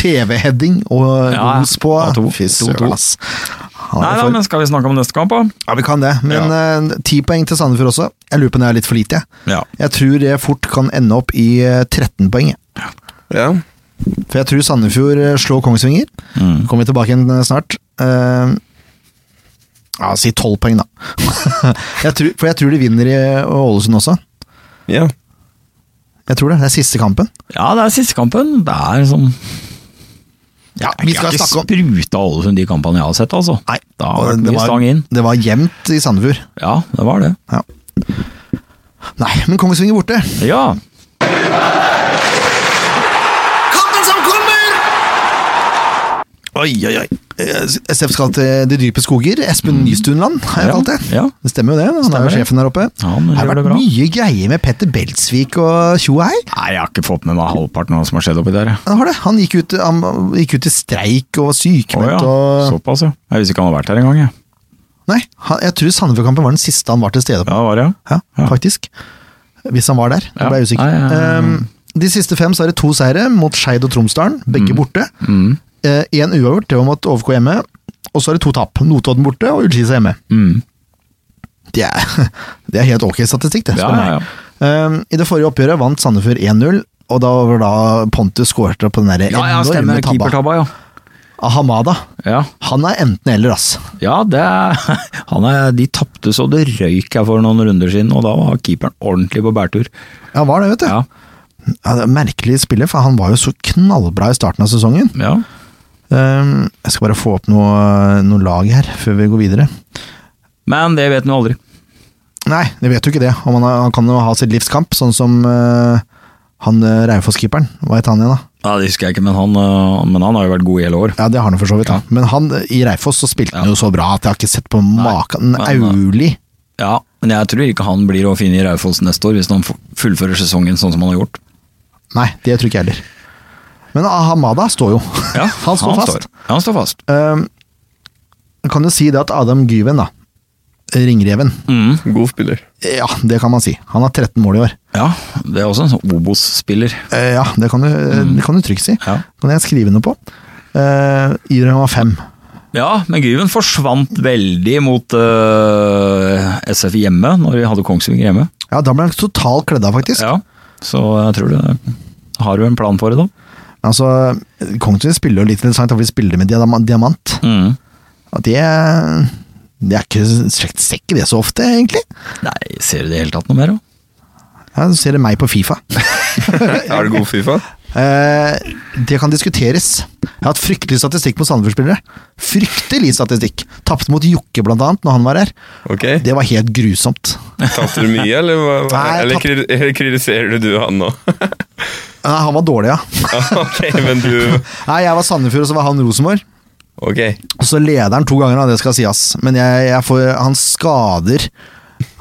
A: TV-heading og
C: Ja,
A: ros på.
C: ja, to-
A: Fy
C: to- to.
A: søren, ass. Han er
C: Nei da,
A: for-
C: men skal vi snakke om neste kamp, da?
A: Ja, vi kan det, men eh, ti poeng til Sandefjord også. Jeg lurer på om det er litt for lite. jeg.
C: Ja.
A: Jeg tror det fort kan ende opp i eh, 13 poeng. jeg.
D: Ja.
A: For jeg tror Sandefjord eh, slår Kongsvinger.
C: Mm.
A: Kommer vi tilbake igjen eh, snart. Eh, ja, si 12 poeng, da. (laughs) jeg tror, for jeg tror de vinner i eh, Ålesund også.
D: ja.
A: Jeg tror det. Det er siste kampen.
C: Ja, det er siste kampen. Det er sånn
A: Ja, vi skal snakke
C: Jeg har
A: om
C: ikke spruta Ålesund de kampene jeg har sett, altså.
A: Nei,
C: Da
A: og
C: har det vært mye stang inn.
A: det var jevnt i Sandefjord.
C: Ja, det var det.
A: Ja. Nei, men Kongsvinger borte.
C: Ja.
A: Kampen som kommer! Oi, oi, oi. Eh, SF skal til De dype skoger. Espen Nystunland har jeg
C: Mm. Ja,
A: kalt det.
C: ja.
A: Det stemmer jo det. Han
C: Stemmer
A: er jo
C: det.
A: sjefen der oppe.
C: Ja, han
A: det har
C: gjør
A: vært
C: det bra.
A: mye greier med Petter Beltsvik og tjo og hei.
C: Nei, jeg har ikke fått med meg halvparten av hva som har skjedd oppi der. jeg.
A: Han har det. Han gikk ut, han gikk ut i streik og var
C: Å ja,
A: sykemeldt og
C: såpass, ja. Jeg visste ikke han hadde vært her engang, jeg.
A: Nei, han, jeg tror Sandefjordkampen var den siste han var til stede på.
C: Ja, det var det, ja.
A: Ja, faktisk. Hvis han var der. Da
C: Ja.
A: ble jeg usikker.
C: Nei, ja, ja, ja.
A: Ehm, de siste fem så er det to seire mot Skeid og Tromsdalen,
C: Mm.
A: begge borte. Én uavgjort, det var mot OVK hjemme. Og så er det to tap. Notodden borte og Ullskisa hjemme.
C: Mm.
A: Det er, (laughs) det er helt ok statistikk, det.
C: Ja,
A: spør du
C: ja,
A: meg. Ehm, I det forrige oppgjøret vant Sandefjord 1-0, og da var da Pontus skårte på den der
C: Ja, ja,
A: enorme
C: stemmer.
A: tabba.
C: Keepertabba, ja.
A: Av Hamada.
C: Ja,
A: Han er enten eller, ass.
C: ja det er, (laughs) han er, de tapte så det røyk her for noen runder siden, og da var keeperen ordentlig på bærtur.
A: Han var det, vet du.
C: Ja,
A: Ja, det er merkelig spiller, for han var jo så knallbra i starten av sesongen.
C: ja.
A: Ehm, jeg skal bare få opp noe, noe lag her, før vi går videre.
C: Men det vet han jo aldri.
A: Nei, jeg vet jo ikke det. Om han, har- han kan jo ha sitt livskamp, sånn som eh, han eh, Raufoss-keeperen. Hva het han igjen, da?
C: Ja, Det husker jeg ikke, men han, øh, men han har jo vært god i hele år.
A: Ja, det har han jo for så vidt. da. Men han eh, i Raufoss så spilte han jo så bra at jeg har ikke sett på maken.
C: men, eh,
A: Auli.
C: Ja, Men jeg tror ikke han blir å finne i Raufoss neste år, hvis han f- fullfører sesongen sånn som han har gjort.
A: Nei, det tror ikke jeg heller. Men Ahamada står jo. (laughs) han står fast.
C: Ja, han står fast.
A: Ehm, jeg kan jo si det at Adam Gyven, da. Ringreven.
C: Mm.
D: God spiller.
A: Ja, det kan man si. Han har 13 mål i år.
C: Ja, det er også en sånn Obos-spiller.
A: Eh, Ja, det kan du, det kan du trygt si.
C: Ja.
A: Kan jeg skrive noe på? Uh, Ibrahim var fem.
C: Ja, men Gyven forsvant veldig mot øh, SF hjemme, når vi hadde Kongsvinger hjemme.
A: Ja, da ble han totalt kledd av, faktisk.
C: Ja, Så jeg tror det Har du en plan for det, da?
A: Altså, Kongsvinger spiller jo litt interessant, for de spiller med diam- diamant.
C: Mm.
A: Og det, det er ikke, ser ikke det så ofte, egentlig.
C: Nei, ser du det i det hele tatt noe mer, da?
A: Ja, så ser det meg på Fifa.
D: Er du god Fifa?
A: Eh, det kan diskuteres. Jeg har hatt fryktelig statistikk mot Sandefjord-spillere. Fryktelig statistikk. Tapte mot Jokke, blant annet, når han var her.
D: Ok.
A: Det var helt grusomt.
D: Tapte du mye, eller, hva-
A: Nei, jeg
D: eller
A: tapte-
D: kri- eller kritiserer du han
A: (laughs)
D: nå?
A: Nei, han var dårlig, ja.
D: ok, men du
A: Nei, jeg var Sandefjord, og så var han Rosenborg.
D: Ok.
A: Og så leder han to ganger, da, det skal sies. Men jeg, jeg får, han skader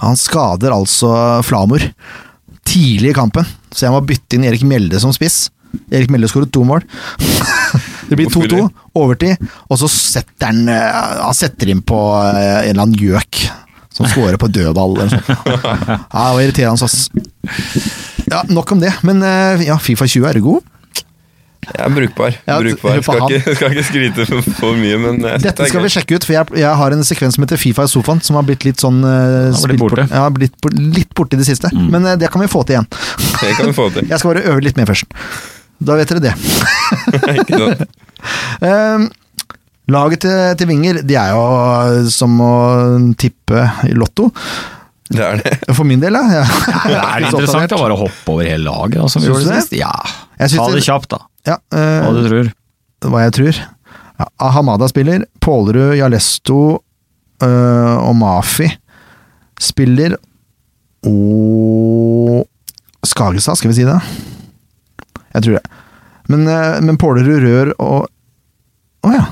A: Han skader altså Flamor tidlig i kampen. Så jeg må bytte inn Erik Mjelde som spiss. Erik Mjelde skåret to mål. (laughs) Det blir 2-2, overtid, og så setter han eh, Han setter inn på eh, en eller annen gjøk som scorer på dødball eller noe sånt. Ja, det var irriterende, ass. Ja, nok om det. Men eh, ja, Fifa 20 er god.
D: Jeg er brukbar.
A: Ja, hør
D: brukbar.
A: på
D: Skal
A: han.
D: ikke, skal ikke skryte for, for mye, men jeg synes det
A: Dette
D: er
A: skal
D: gøy.
A: vi sjekke ut, for jeg, jeg har en sekvens som heter Fifa i sofaen, som har blitt litt sånn eh,
C: blitt
A: spilt bort-
C: borte.
A: Ja, blitt, bort- litt borte i det siste. Men eh, det kan vi få til igjen.
D: Det kan vi få
A: (laughs)
D: til.
A: Jeg skal bare øve litt mer først. Da vet dere det.
D: Ikke sant?
A: Ehm, laget til, til Vinger, de er jo eh, som å tippe i Lotto.
D: Det er det.
A: For min del, ja. (laughs)
C: Det er interessant å bare hoppe over hele laget, da, som vi
A: Syns
C: gjorde
A: du det?
C: sist. Ja.
A: Jeg syns
C: Ta det
A: det-
C: kjapt, da.
A: Ja, eh,
C: Hva du tror.
A: hva jeg tror. Ja, Hamada spiller. Pålerud, Jalesto øh, og Mafi spiller. Og Skagestad, skal vi si det? Jeg tror det. Men, øh, men Pålerud, Rør og Å ja.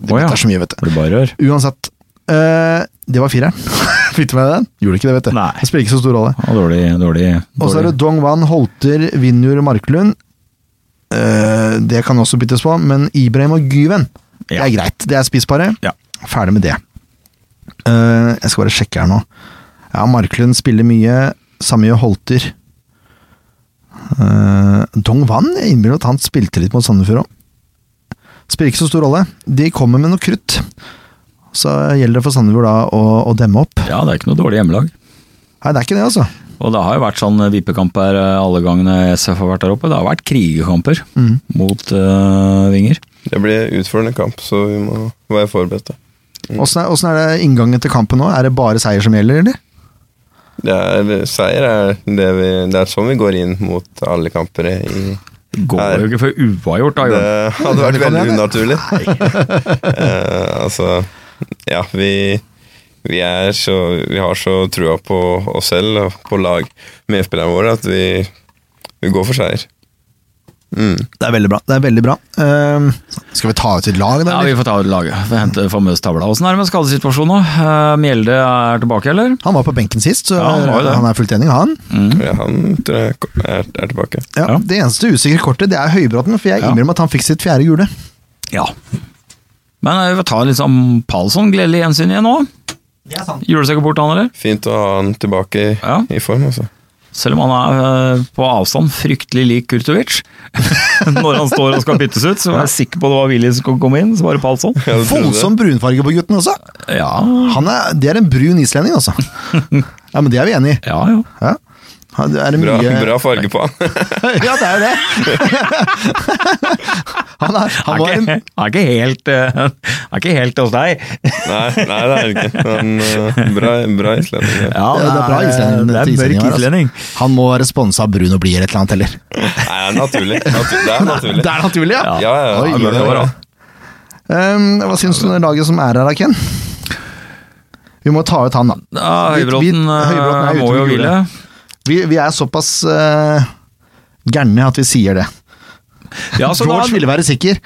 A: Det
C: Å ja.
A: er så mye, vet du.
C: Blir bare rør.
A: Uansett. øh, det var fireren. (laughs) Fikk du med deg den? Gjorde ikke det, vet du.
C: Nei.
A: Det spiller ikke så stor rolle.
C: Ja, dårlig, dårlig,
A: Og så er
C: dårlig.
A: det Dong Wan, Holter, Vinjur og Marklund. Eh, det kan også byttes på, men Ibrahim og Gyven Det
C: Ja.
A: er greit. Det er spissbare.
C: Ja.
A: Ferdig med det. Eh, jeg skal bare sjekke her nå. Ja, Marklund spiller mye. Samme gjør Holter. Eh, Dong Wan jeg innbiller meg at han spilte litt mot Sandefjord òg. Spiller ikke så stor rolle. De kommer med noe krutt. Så gjelder det for Sandefjord da å, å demme opp.
C: Ja, det er ikke noe dårlig hjemmelag.
A: Nei, det er ikke det, altså.
C: Og det har jo vært sånn vippekamper eh, alle gangene SF har vært der oppe. Det har vært krigerkamper
A: Mm.
C: mot eh, vinger.
D: Det blir utfordrende kamp, så vi må være forberedt. da.
A: Åssen er, åssen er det inngangen til kampen nå? Er det bare seier som gjelder, eller?
D: Det er, seier er det vi Det er sånn vi går inn mot alle kamper i
C: Det Går jo ikke for uavgjort, da.
D: Det
C: Jørn.
D: hadde vært
A: Det kan
D: veldig
A: jeg
D: unaturlig. (laughs) Eh, altså Ja, vi, vi er så Vi har så trua på oss selv og på lag medspillerne våre at vi, vi går for seier. Mm.
A: Det er veldig bra. Det er veldig bra. Ehm, skal vi ta ut et lag, da?
C: Ja,
A: eller?
C: vi får ta ut (laughs) laget. Får Hente famøs tavla. Åssen er det med skadesituasjonen nå? Eh, Mjelde er tilbake, eller?
A: Han var på benken sist, så
C: Ja, han var jo det.
A: han er full trening, han.
D: Ja, han tror jeg kom- er, er tilbake.
A: Ja,
C: Ja.
A: Det eneste usikre kortet, det er Høybråten, for jeg
C: Ja.
A: innbiller meg at han fikk sitt fjerde gule.
C: Ja. Men eh, vi får ta litt sånn Palsson, gledelig gjensyn igjen nå. Julesekker bort han, eller?
D: Fint å ha han tilbake i,
C: Ja.
D: i form, altså.
C: Selv om han er eh, på avstand fryktelig lik Kurtovic. (laughs) Når han står og skal byttes ut, så var jeg sikker på det var Willy som kom- kom inn, så var det Palsson.
D: Jeg trodde det.
A: Voldsom brunfarge på gutten også!
C: Ja,
A: Han er, det er en brun islending, altså. ja, men det er vi enig i.
C: ja, ja.
A: Ja. Ja, det Er
D: Bra,
A: mye...
D: bra farge på han.
A: (laughs) ja, det er jo det! (laughs) han er, han
C: Han
A: var en,
C: er, ikke, han er ikke helt eh, (laughs) Han er ikke helt hos deg.
D: Nei, nei, det er det ikke. Men eh, bra, bra islending. ja.
C: Ja,
A: det er bra islending.
C: (laughs) Det er
A: til islendinger
C: mørk
A: her, altså.
C: islending.
A: Han må være sponsa av Brun og Blier et eller annet, eller?
D: Nei, det er naturlig. Natu- Det er naturlig.
A: Det er naturlig, ja!
C: Ja.
D: Ja, ja,
A: Oi,
D: ja, men det
A: det
D: er
A: var
D: bra.
A: bra. Ehm, hva syns du om det laget som er her, da, Ken? Vi må ta ut han, da.
C: Ja,
A: Vi- vi-
C: Høybråten eh,
A: Høybråten er ute
C: må
A: med
C: jo
A: gule.
C: hvile.
A: Vi, vi er såpass eh, gærne at vi sier det.
C: Ja,
D: Altså,
C: så da
A: George ville være sikker,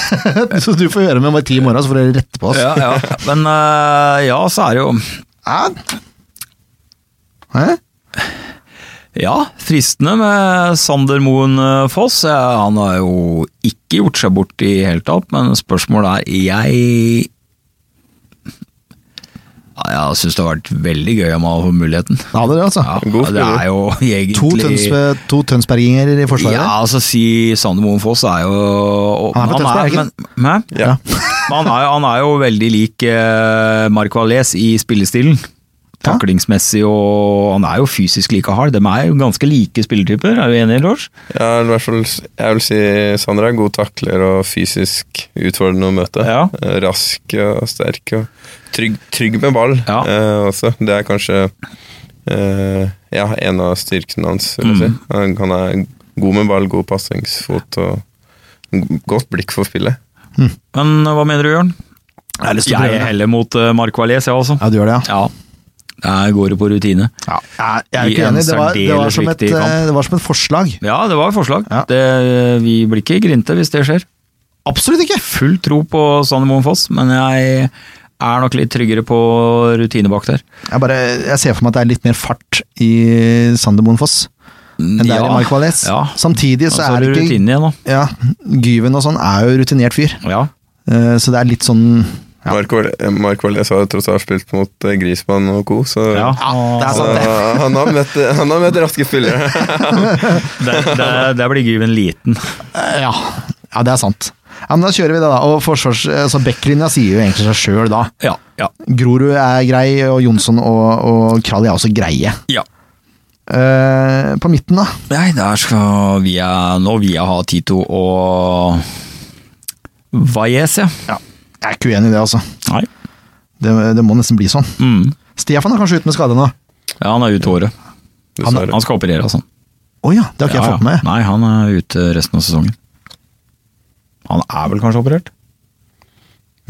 A: (laughs) så du får høre med meg ti i morgen, så får dere rette på oss.
C: ja, ja. Men eh, ja, så er det jo
A: Hæ? Hæ?
C: Ja, fristende med Sander Moen eh, Foss. Eh, Han har jo ikke gjort seg bort i hele tatt, men spørsmålet er Jeg ja, Jeg syns det har vært veldig gøy om han hadde fått muligheten.
A: Det hadde det, altså.
C: Ja,
D: God
C: det
D: spiller.
C: er jo egentlig
A: To, tønsbe, to tønsberginger i forsvaret.
C: Ja, altså si Sander Moen Foss er jo og-
A: Han er fra Tønsberg, er ikke
C: men, hæ?
D: Ja.
C: Men han, er, jo- han er jo veldig lik eh, Marc Valles i spillestilen.
A: Ja.
C: Taklingsmessig og Han er jo fysisk like hard. De er jo ganske like spillertyper, er du enig, Lars?
D: Ja, i hvert fall, jeg vil si Sander er god takler og fysisk utfordrende å møte.
C: Ja.
D: Eh, Rask og sterk og trygg, trygg med ball
C: Ja.
D: eh, også. Det er kanskje eh, ja, en av styrkene hans. Vil jeg
C: Mm.
D: si. han, han er god med ball, god pasningsfot og g- godt blikk for spillet.
C: Men eh, hva mener du, Jørn?
A: Jeg har lyst til å
C: Jeg
A: prøve
C: er
A: det.
C: heller mot eh, Marc Valles, jeg også.
A: Ja, du gjør det, ja.
C: Ja. Der går det på rutine.
A: ja. Jeg, jeg
C: I
A: er ikke
C: en
A: enig. Det var, det, var
C: særdeles
A: som et,
C: viktig
A: eh,
C: kamp.
A: det var som et forslag.
C: Ja, det var et forslag.
A: Ja.
C: Det, vi blir ikke grinte hvis det skjer.
A: Absolutt ikke!
C: Full tro på Sander Moen Foss, men jeg er nok litt tryggere på rutine bak der.
A: Jeg, bare, jeg ser for meg at det er litt mer fart i Sander Moen Foss enn det er i Mark Valles.
C: Ja.
A: Samtidig
C: Og
A: så
C: så er
A: er
C: det
A: det ikke
C: rutine Altså igjen, da.
A: ja, Gyven og sånn er jo rutinert fyr,
C: Ja.
A: Eh, så det er litt sånn Ja.
D: Mark Wall- eh, Mark Wallez har jo tross alt spilt mot eh, Griezmann og co., så
C: ja.
A: det er
D: så
A: sant, det.
D: (laughs) han, har møtt, han har møtt raske spillere.
C: Der, der, der blir Gyven liten.
A: Eh, Ja. ja, det er sant. Ja, men da kjører vi det, da. Og forsvars, altså backlinja sier jo egentlig seg sjøl, da.
C: Ja. Ja.
A: Grorud er grei, og Jonsson og, og Kralj er også greie.
C: ja.
A: Eh, på midten, da.
C: Nei, der skal vi eh, nå vil jeg ha Tito og Valles, ja.
A: Ja. Jeg er ikke uenig i det, altså.
C: Nei.
A: Det, det må nesten bli sånn.
C: Mm.
A: Stefan er kanskje ute med skade nå? Å
C: Ja, han er ute året.
D: Dessverre.
C: Han skal operere, altså.
A: ja, det har ikke
C: Ja,
A: jeg fått med.
C: ja. Nei, han er ute resten av sesongen. Han er vel kanskje operert?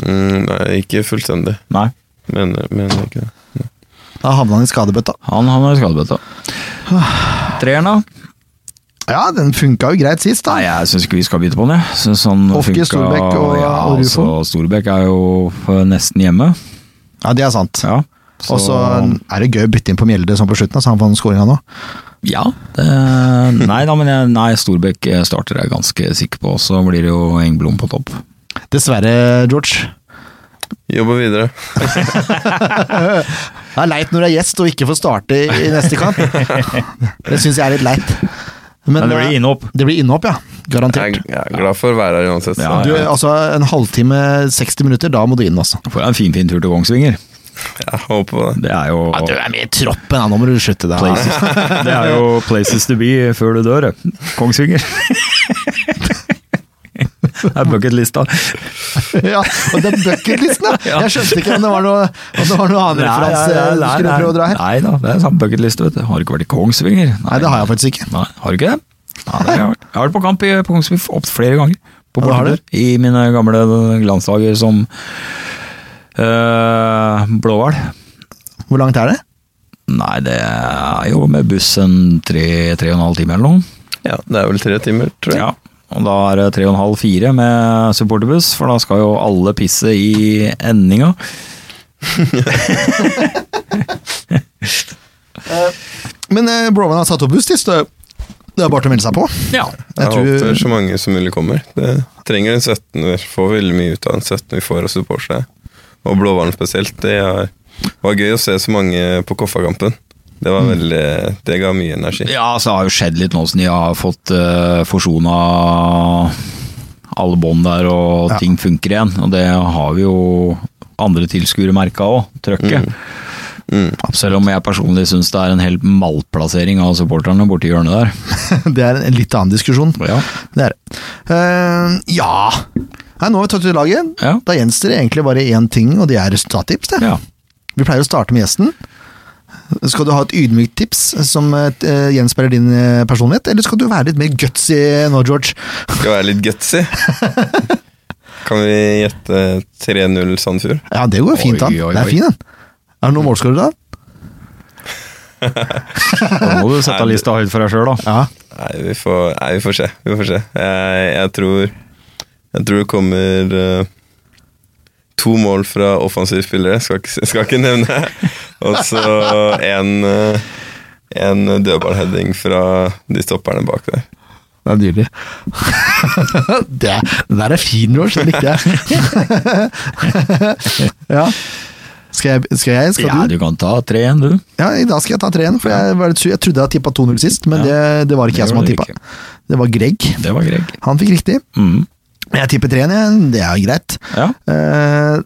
D: Mm, nei, ikke fullstendig.
C: Nei.
D: Men, men ikke det.
A: Da havna han i skadebøtta.
C: Han, han har skadebøtta.
A: Ah.
C: Treeren, da?
A: Ja, den funka jo greit sist,
C: Nei,
A: da.
C: jeg syns ikke vi skal bytte på den. jeg. Synes han
A: Hofke,
C: funka-
A: Storbekk og-
C: ja,
A: og Rufo.
C: altså, Storbekk er jo eh, nesten hjemme.
A: Ja, det er sant.
C: Ja.
A: Og så er det gøy å bytte inn på Mjelde sånn på slutten, så han får skåringa nå.
C: Ja. Det, nei da, men jeg, nei, Storbekk starter jeg ganske sikker på. Så blir det jo Engblom på topp.
A: Dessverre, George.
D: Jobbe videre.
A: Det er leit når du er gjest og ikke får starte i i neste (laughs) kamp. Det syns jeg er litt leit.
C: Men det blir
A: eh,
C: innhopp.
A: det blir innhopp, ja.
D: Jeg,
A: Garantert.
D: jeg er glad for å være her uansett.
C: Ja,
D: Så.
A: Du, altså En halvtime, 60 minutter, da må du inn, altså.
C: Får jeg en finfin fin tur til Kongsvinger.
D: Jeg håper på det.
C: Det er jo
A: er med i troppen, ja. nå må du slutte det. her.
C: places, (laughs) det er jo places to be før du dør. det. Kongsvinger. (laughs) Det er bucketlista.
A: (laughs) Ja, og det er bucketlisten, (laughs) ja!
C: Ja.
A: Jeg skjønte ikke om det var noe, om det var noe annen referanse eh, du skulle prøve å dra her.
C: Nei da, det er samme bucketliste, vet du. Har ikke vært i Kongsvinger.
A: Nei, det har jeg faktisk ikke.
C: Nei, har du ikke det? Ja, det har jeg, vært. jeg har vært på kamp i, på Kongsvinger opp flere ganger. På
A: Ja, det har
C: bortetur. I mine gamle glansdager som øh, blåhval.
A: Hvor langt er det?
C: Nei, det er jo med buss en tre, tre og en halv time eller noe.
D: Ja, det er vel tre timer, tror jeg.
C: Ja, og da er det tre og en halv fire med supporterbuss, for da skal jo alle pisse i endinga.
A: Men eh, Broman har satt opp buss, sist, det det er bare til å melde seg på. (laughs)
C: Ja.
A: Jeg
D: Jeg håper
A: tror,
D: så mange som mulig kommer. Det trenger en 17 Vi får veldig mye ut av en 17 vi får av supportere. Og Blåhvalen spesielt. Det er, var gøy å se så mange på Koffakampen. Det var veldig, det ga mye energi.
C: Mm. Ja, så det har jo skjedd litt nå som de har fått uh, forsona alle bånd der, og
A: Ja.
C: ting funker igjen. Og det har vi jo andre tilskuere merka òg, trøkket.
D: Mm.
C: Selv om jeg personlig syns det er en helt malplassering av supporterne borti hjørnet der.
A: det er en litt annen diskusjon.
C: Ja.
A: Det er det. Eh, ja Nei, Nå har vi tatt ut laget.
C: Ja.
A: Da gjenstår det egentlig bare én ting, og det er resultattips. Det.
C: ja.
A: Vi pleier å starte med gjesten. Skal du ha et ydmykt tips som eh, gjenspeiler din eh, personlighet, eller skal du være litt mer gutsy nå, George?
D: Skal være litt gutsy.
C: (laughs)
D: Kan vi gjette 3-0 Sandfjord?
A: Ja, det går jo fint an.
C: Oi, oi,
A: Det
C: oi.
A: er fin, den. Er det noen målskårer da?
C: Da må du sette lista høyt for deg sjøl, da.
A: Ja.
D: Nei, vi får, nei, vi får se. Vi får se. Jeg, jeg tror Jeg tror det kommer eh, to mål fra offensive spillere. Skal ikke, skal ikke nevne. Og så en, eh, en dødballheading fra de stopperne bak der.
A: Det er nydelig. (laughs) det, den der er fin, George. Den likte jeg. (laughs) ja. Skal jeg, skal jeg? Skal
C: Ja,
A: du?
C: du kan ta tre igjen, du.
A: Ja, I dag skal jeg ta treen, for jeg, var litt sur. jeg trodde jeg hadde tippa 2-0 sist, men det, det var ikke
C: det
A: jeg som
C: var
A: hadde
C: det
A: tippa. Det var Greg.
C: Det var Greg.
A: Han fikk riktig.
C: Mm.
A: Jeg tipper 3-1, jeg. det er jo greit.
C: Ja.
A: Eh,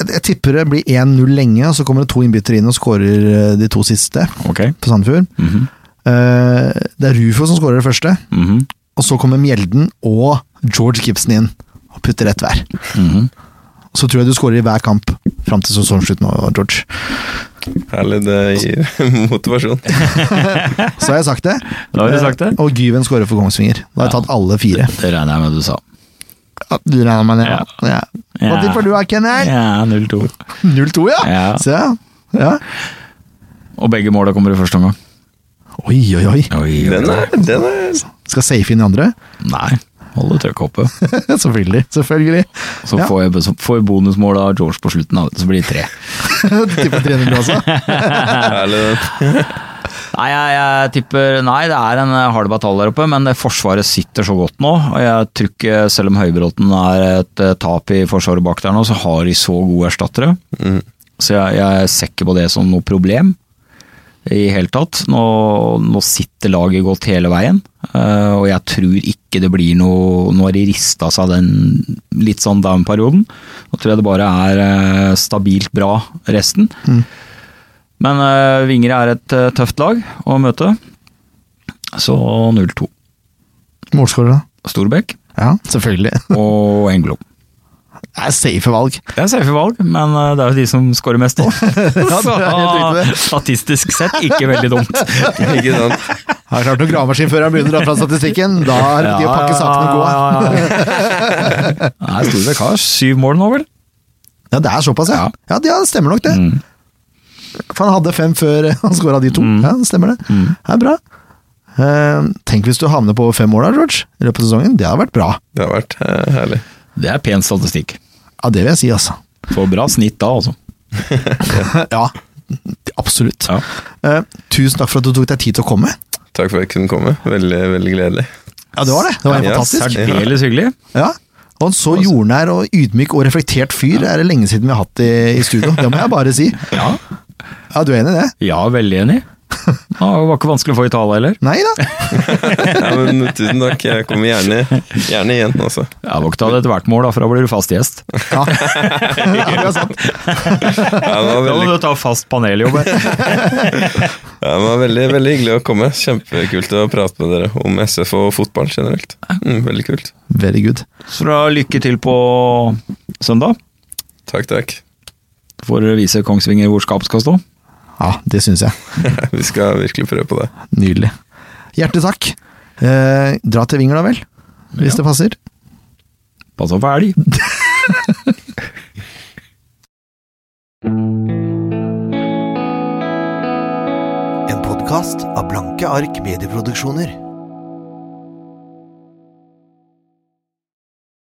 A: jeg, jeg tipper det blir 1-0 lenge, og så kommer det to innbyttere inn og skårer eh, de to siste
C: Ok.
A: på Sandefjord.
C: Mhm.
A: Eh, det er Rufo som skårer det første,
C: Mhm.
A: og så kommer Mjelden og George Gibson inn og putter ett hver.
C: Mhm.
A: Så tror jeg du skårer i hver kamp fram til sesongslutt nå, George.
D: Herlig, det gir (laughs) motivasjon.
A: Så har jeg sagt det.
C: Da har vi sagt det.
A: Eh, Og Gyven skårer for Kongsvinger. Da har jeg tatt alle fire.
C: Det regner jeg med du sa.
A: Ja, Du regner med det, ja. ja. Hva
C: Ja.
A: tipper du da, Kenner?
C: Ja, 0-2.
A: 0-2, ja.
C: Ja.
A: Se, ja.
C: Og begge måla kommer i første omgang.
A: Oi, oi, oi.
C: Oi, oi,
D: Den
C: oi.
D: er, den er
A: Skal safe inn i andre? (laughs)
C: Nei, holde trøkket oppe.
A: selvfølgelig. selvfølgelig. (laughs)
C: Så
A: Ja.
C: får jeg, så får jeg bonusmål av George på slutten, da, så blir det tre.
A: Du tipper 300 også?
D: herlig. den.
C: Nei, jeg, jeg tipper Nei, det er en eh, hard batalje der oppe, men det forsvaret sitter så godt nå. Og jeg tror ikke, selv om Høybråten er et eh, tap i forsvaret bak der nå, så har de så gode erstattere.
D: Mm.
C: Så jeg, jeg ser ikke på det som noe problem i hele tatt. Nå, nå sitter laget godt hele veien, eh, og jeg tror ikke det blir noe Nå har de rista seg den litt sånn down-perioden. Nå tror jeg det bare er eh, stabilt bra resten. Men eh, Vingre er et eh, tøft lag å møte, så 0-2.
A: Målskårer, da?
C: Storbekk
A: Ja, selvfølgelig.
C: og Engblom.
A: Det er safe valg.
C: Det er safe valg, men eh, det er jo de som scorer (laughs) mest nå. (laughs) så
A: det er helt riktig.
C: statistisk sett ikke veldig dumt.
D: Ikke sant?
A: Har klart når gravemaskinføreren begynner å dra fra statistikken, da er det på tide å pakke sakene og gå.
C: ja, ja, ja. Nei, Storbekk har syv mål nå, vel?
A: Ja, det er såpass, ja.
C: Ja.
A: Ja, det ja, det stemmer nok det.
C: Mm.
A: For han hadde fem før (laughs) han skåra de to. Ja, det stemmer det. Det er bra. Eh, tenk hvis du havner på fem mål da, George, i løpet av sesongen. Det hadde vært bra.
D: Det har vært eh, herlig.
C: Det er pen statistikk.
A: Ja, det vil jeg si, altså. (laughs)
C: Får bra snitt da, altså.
A: ja, absolutt.
C: Ja.
A: Eh, tusen takk for at du tok deg tid til å komme.
D: Takk for at jeg kunne komme. Veldig, veldig gledelig.
A: Ja, det var det. Det var helt
D: Ja,
A: fantastisk.
D: særlig.
C: Særdeles hyggelig.
A: Ja. Og en så jordnær og ydmyk og reflektert fyr er det lenge siden vi har hatt i, i studio. Det må jeg bare si.
C: Ja,
A: Ja, du er enig i det?
C: ja veldig enig. Det var ikke vanskelig å få i tale heller.
A: Nei da.
D: Ja, men Tusen takk. Jeg kommer gjerne, gjerne igjen, altså.
C: Jeg vokta det ethvert mål, da, for da blir du fast gjest.
A: (laughs) Ja. ja, det er sant.
D: Ja, det var
C: Da må
D: veldig,
C: du ta fast paneljobb.
D: ja, det var veldig, veldig hyggelig å komme. Kjempekult å prate med dere om SF og fotball generelt. Mm, veldig kult.
A: Very good.
C: Så da lykke til på søndag.
D: Takk, takk.
C: Får dere vise Kongsvinger hvor skapet skal stå.
A: Ja, det syns jeg.
D: Vi skal virkelig prøve på det.
A: Nydelig. Hjertelig takk. Eh, dra til Vinger, da vel. Hvis det passer.
C: Pass opp for elg.
E: En podkast av Blanke ark medieproduksjoner.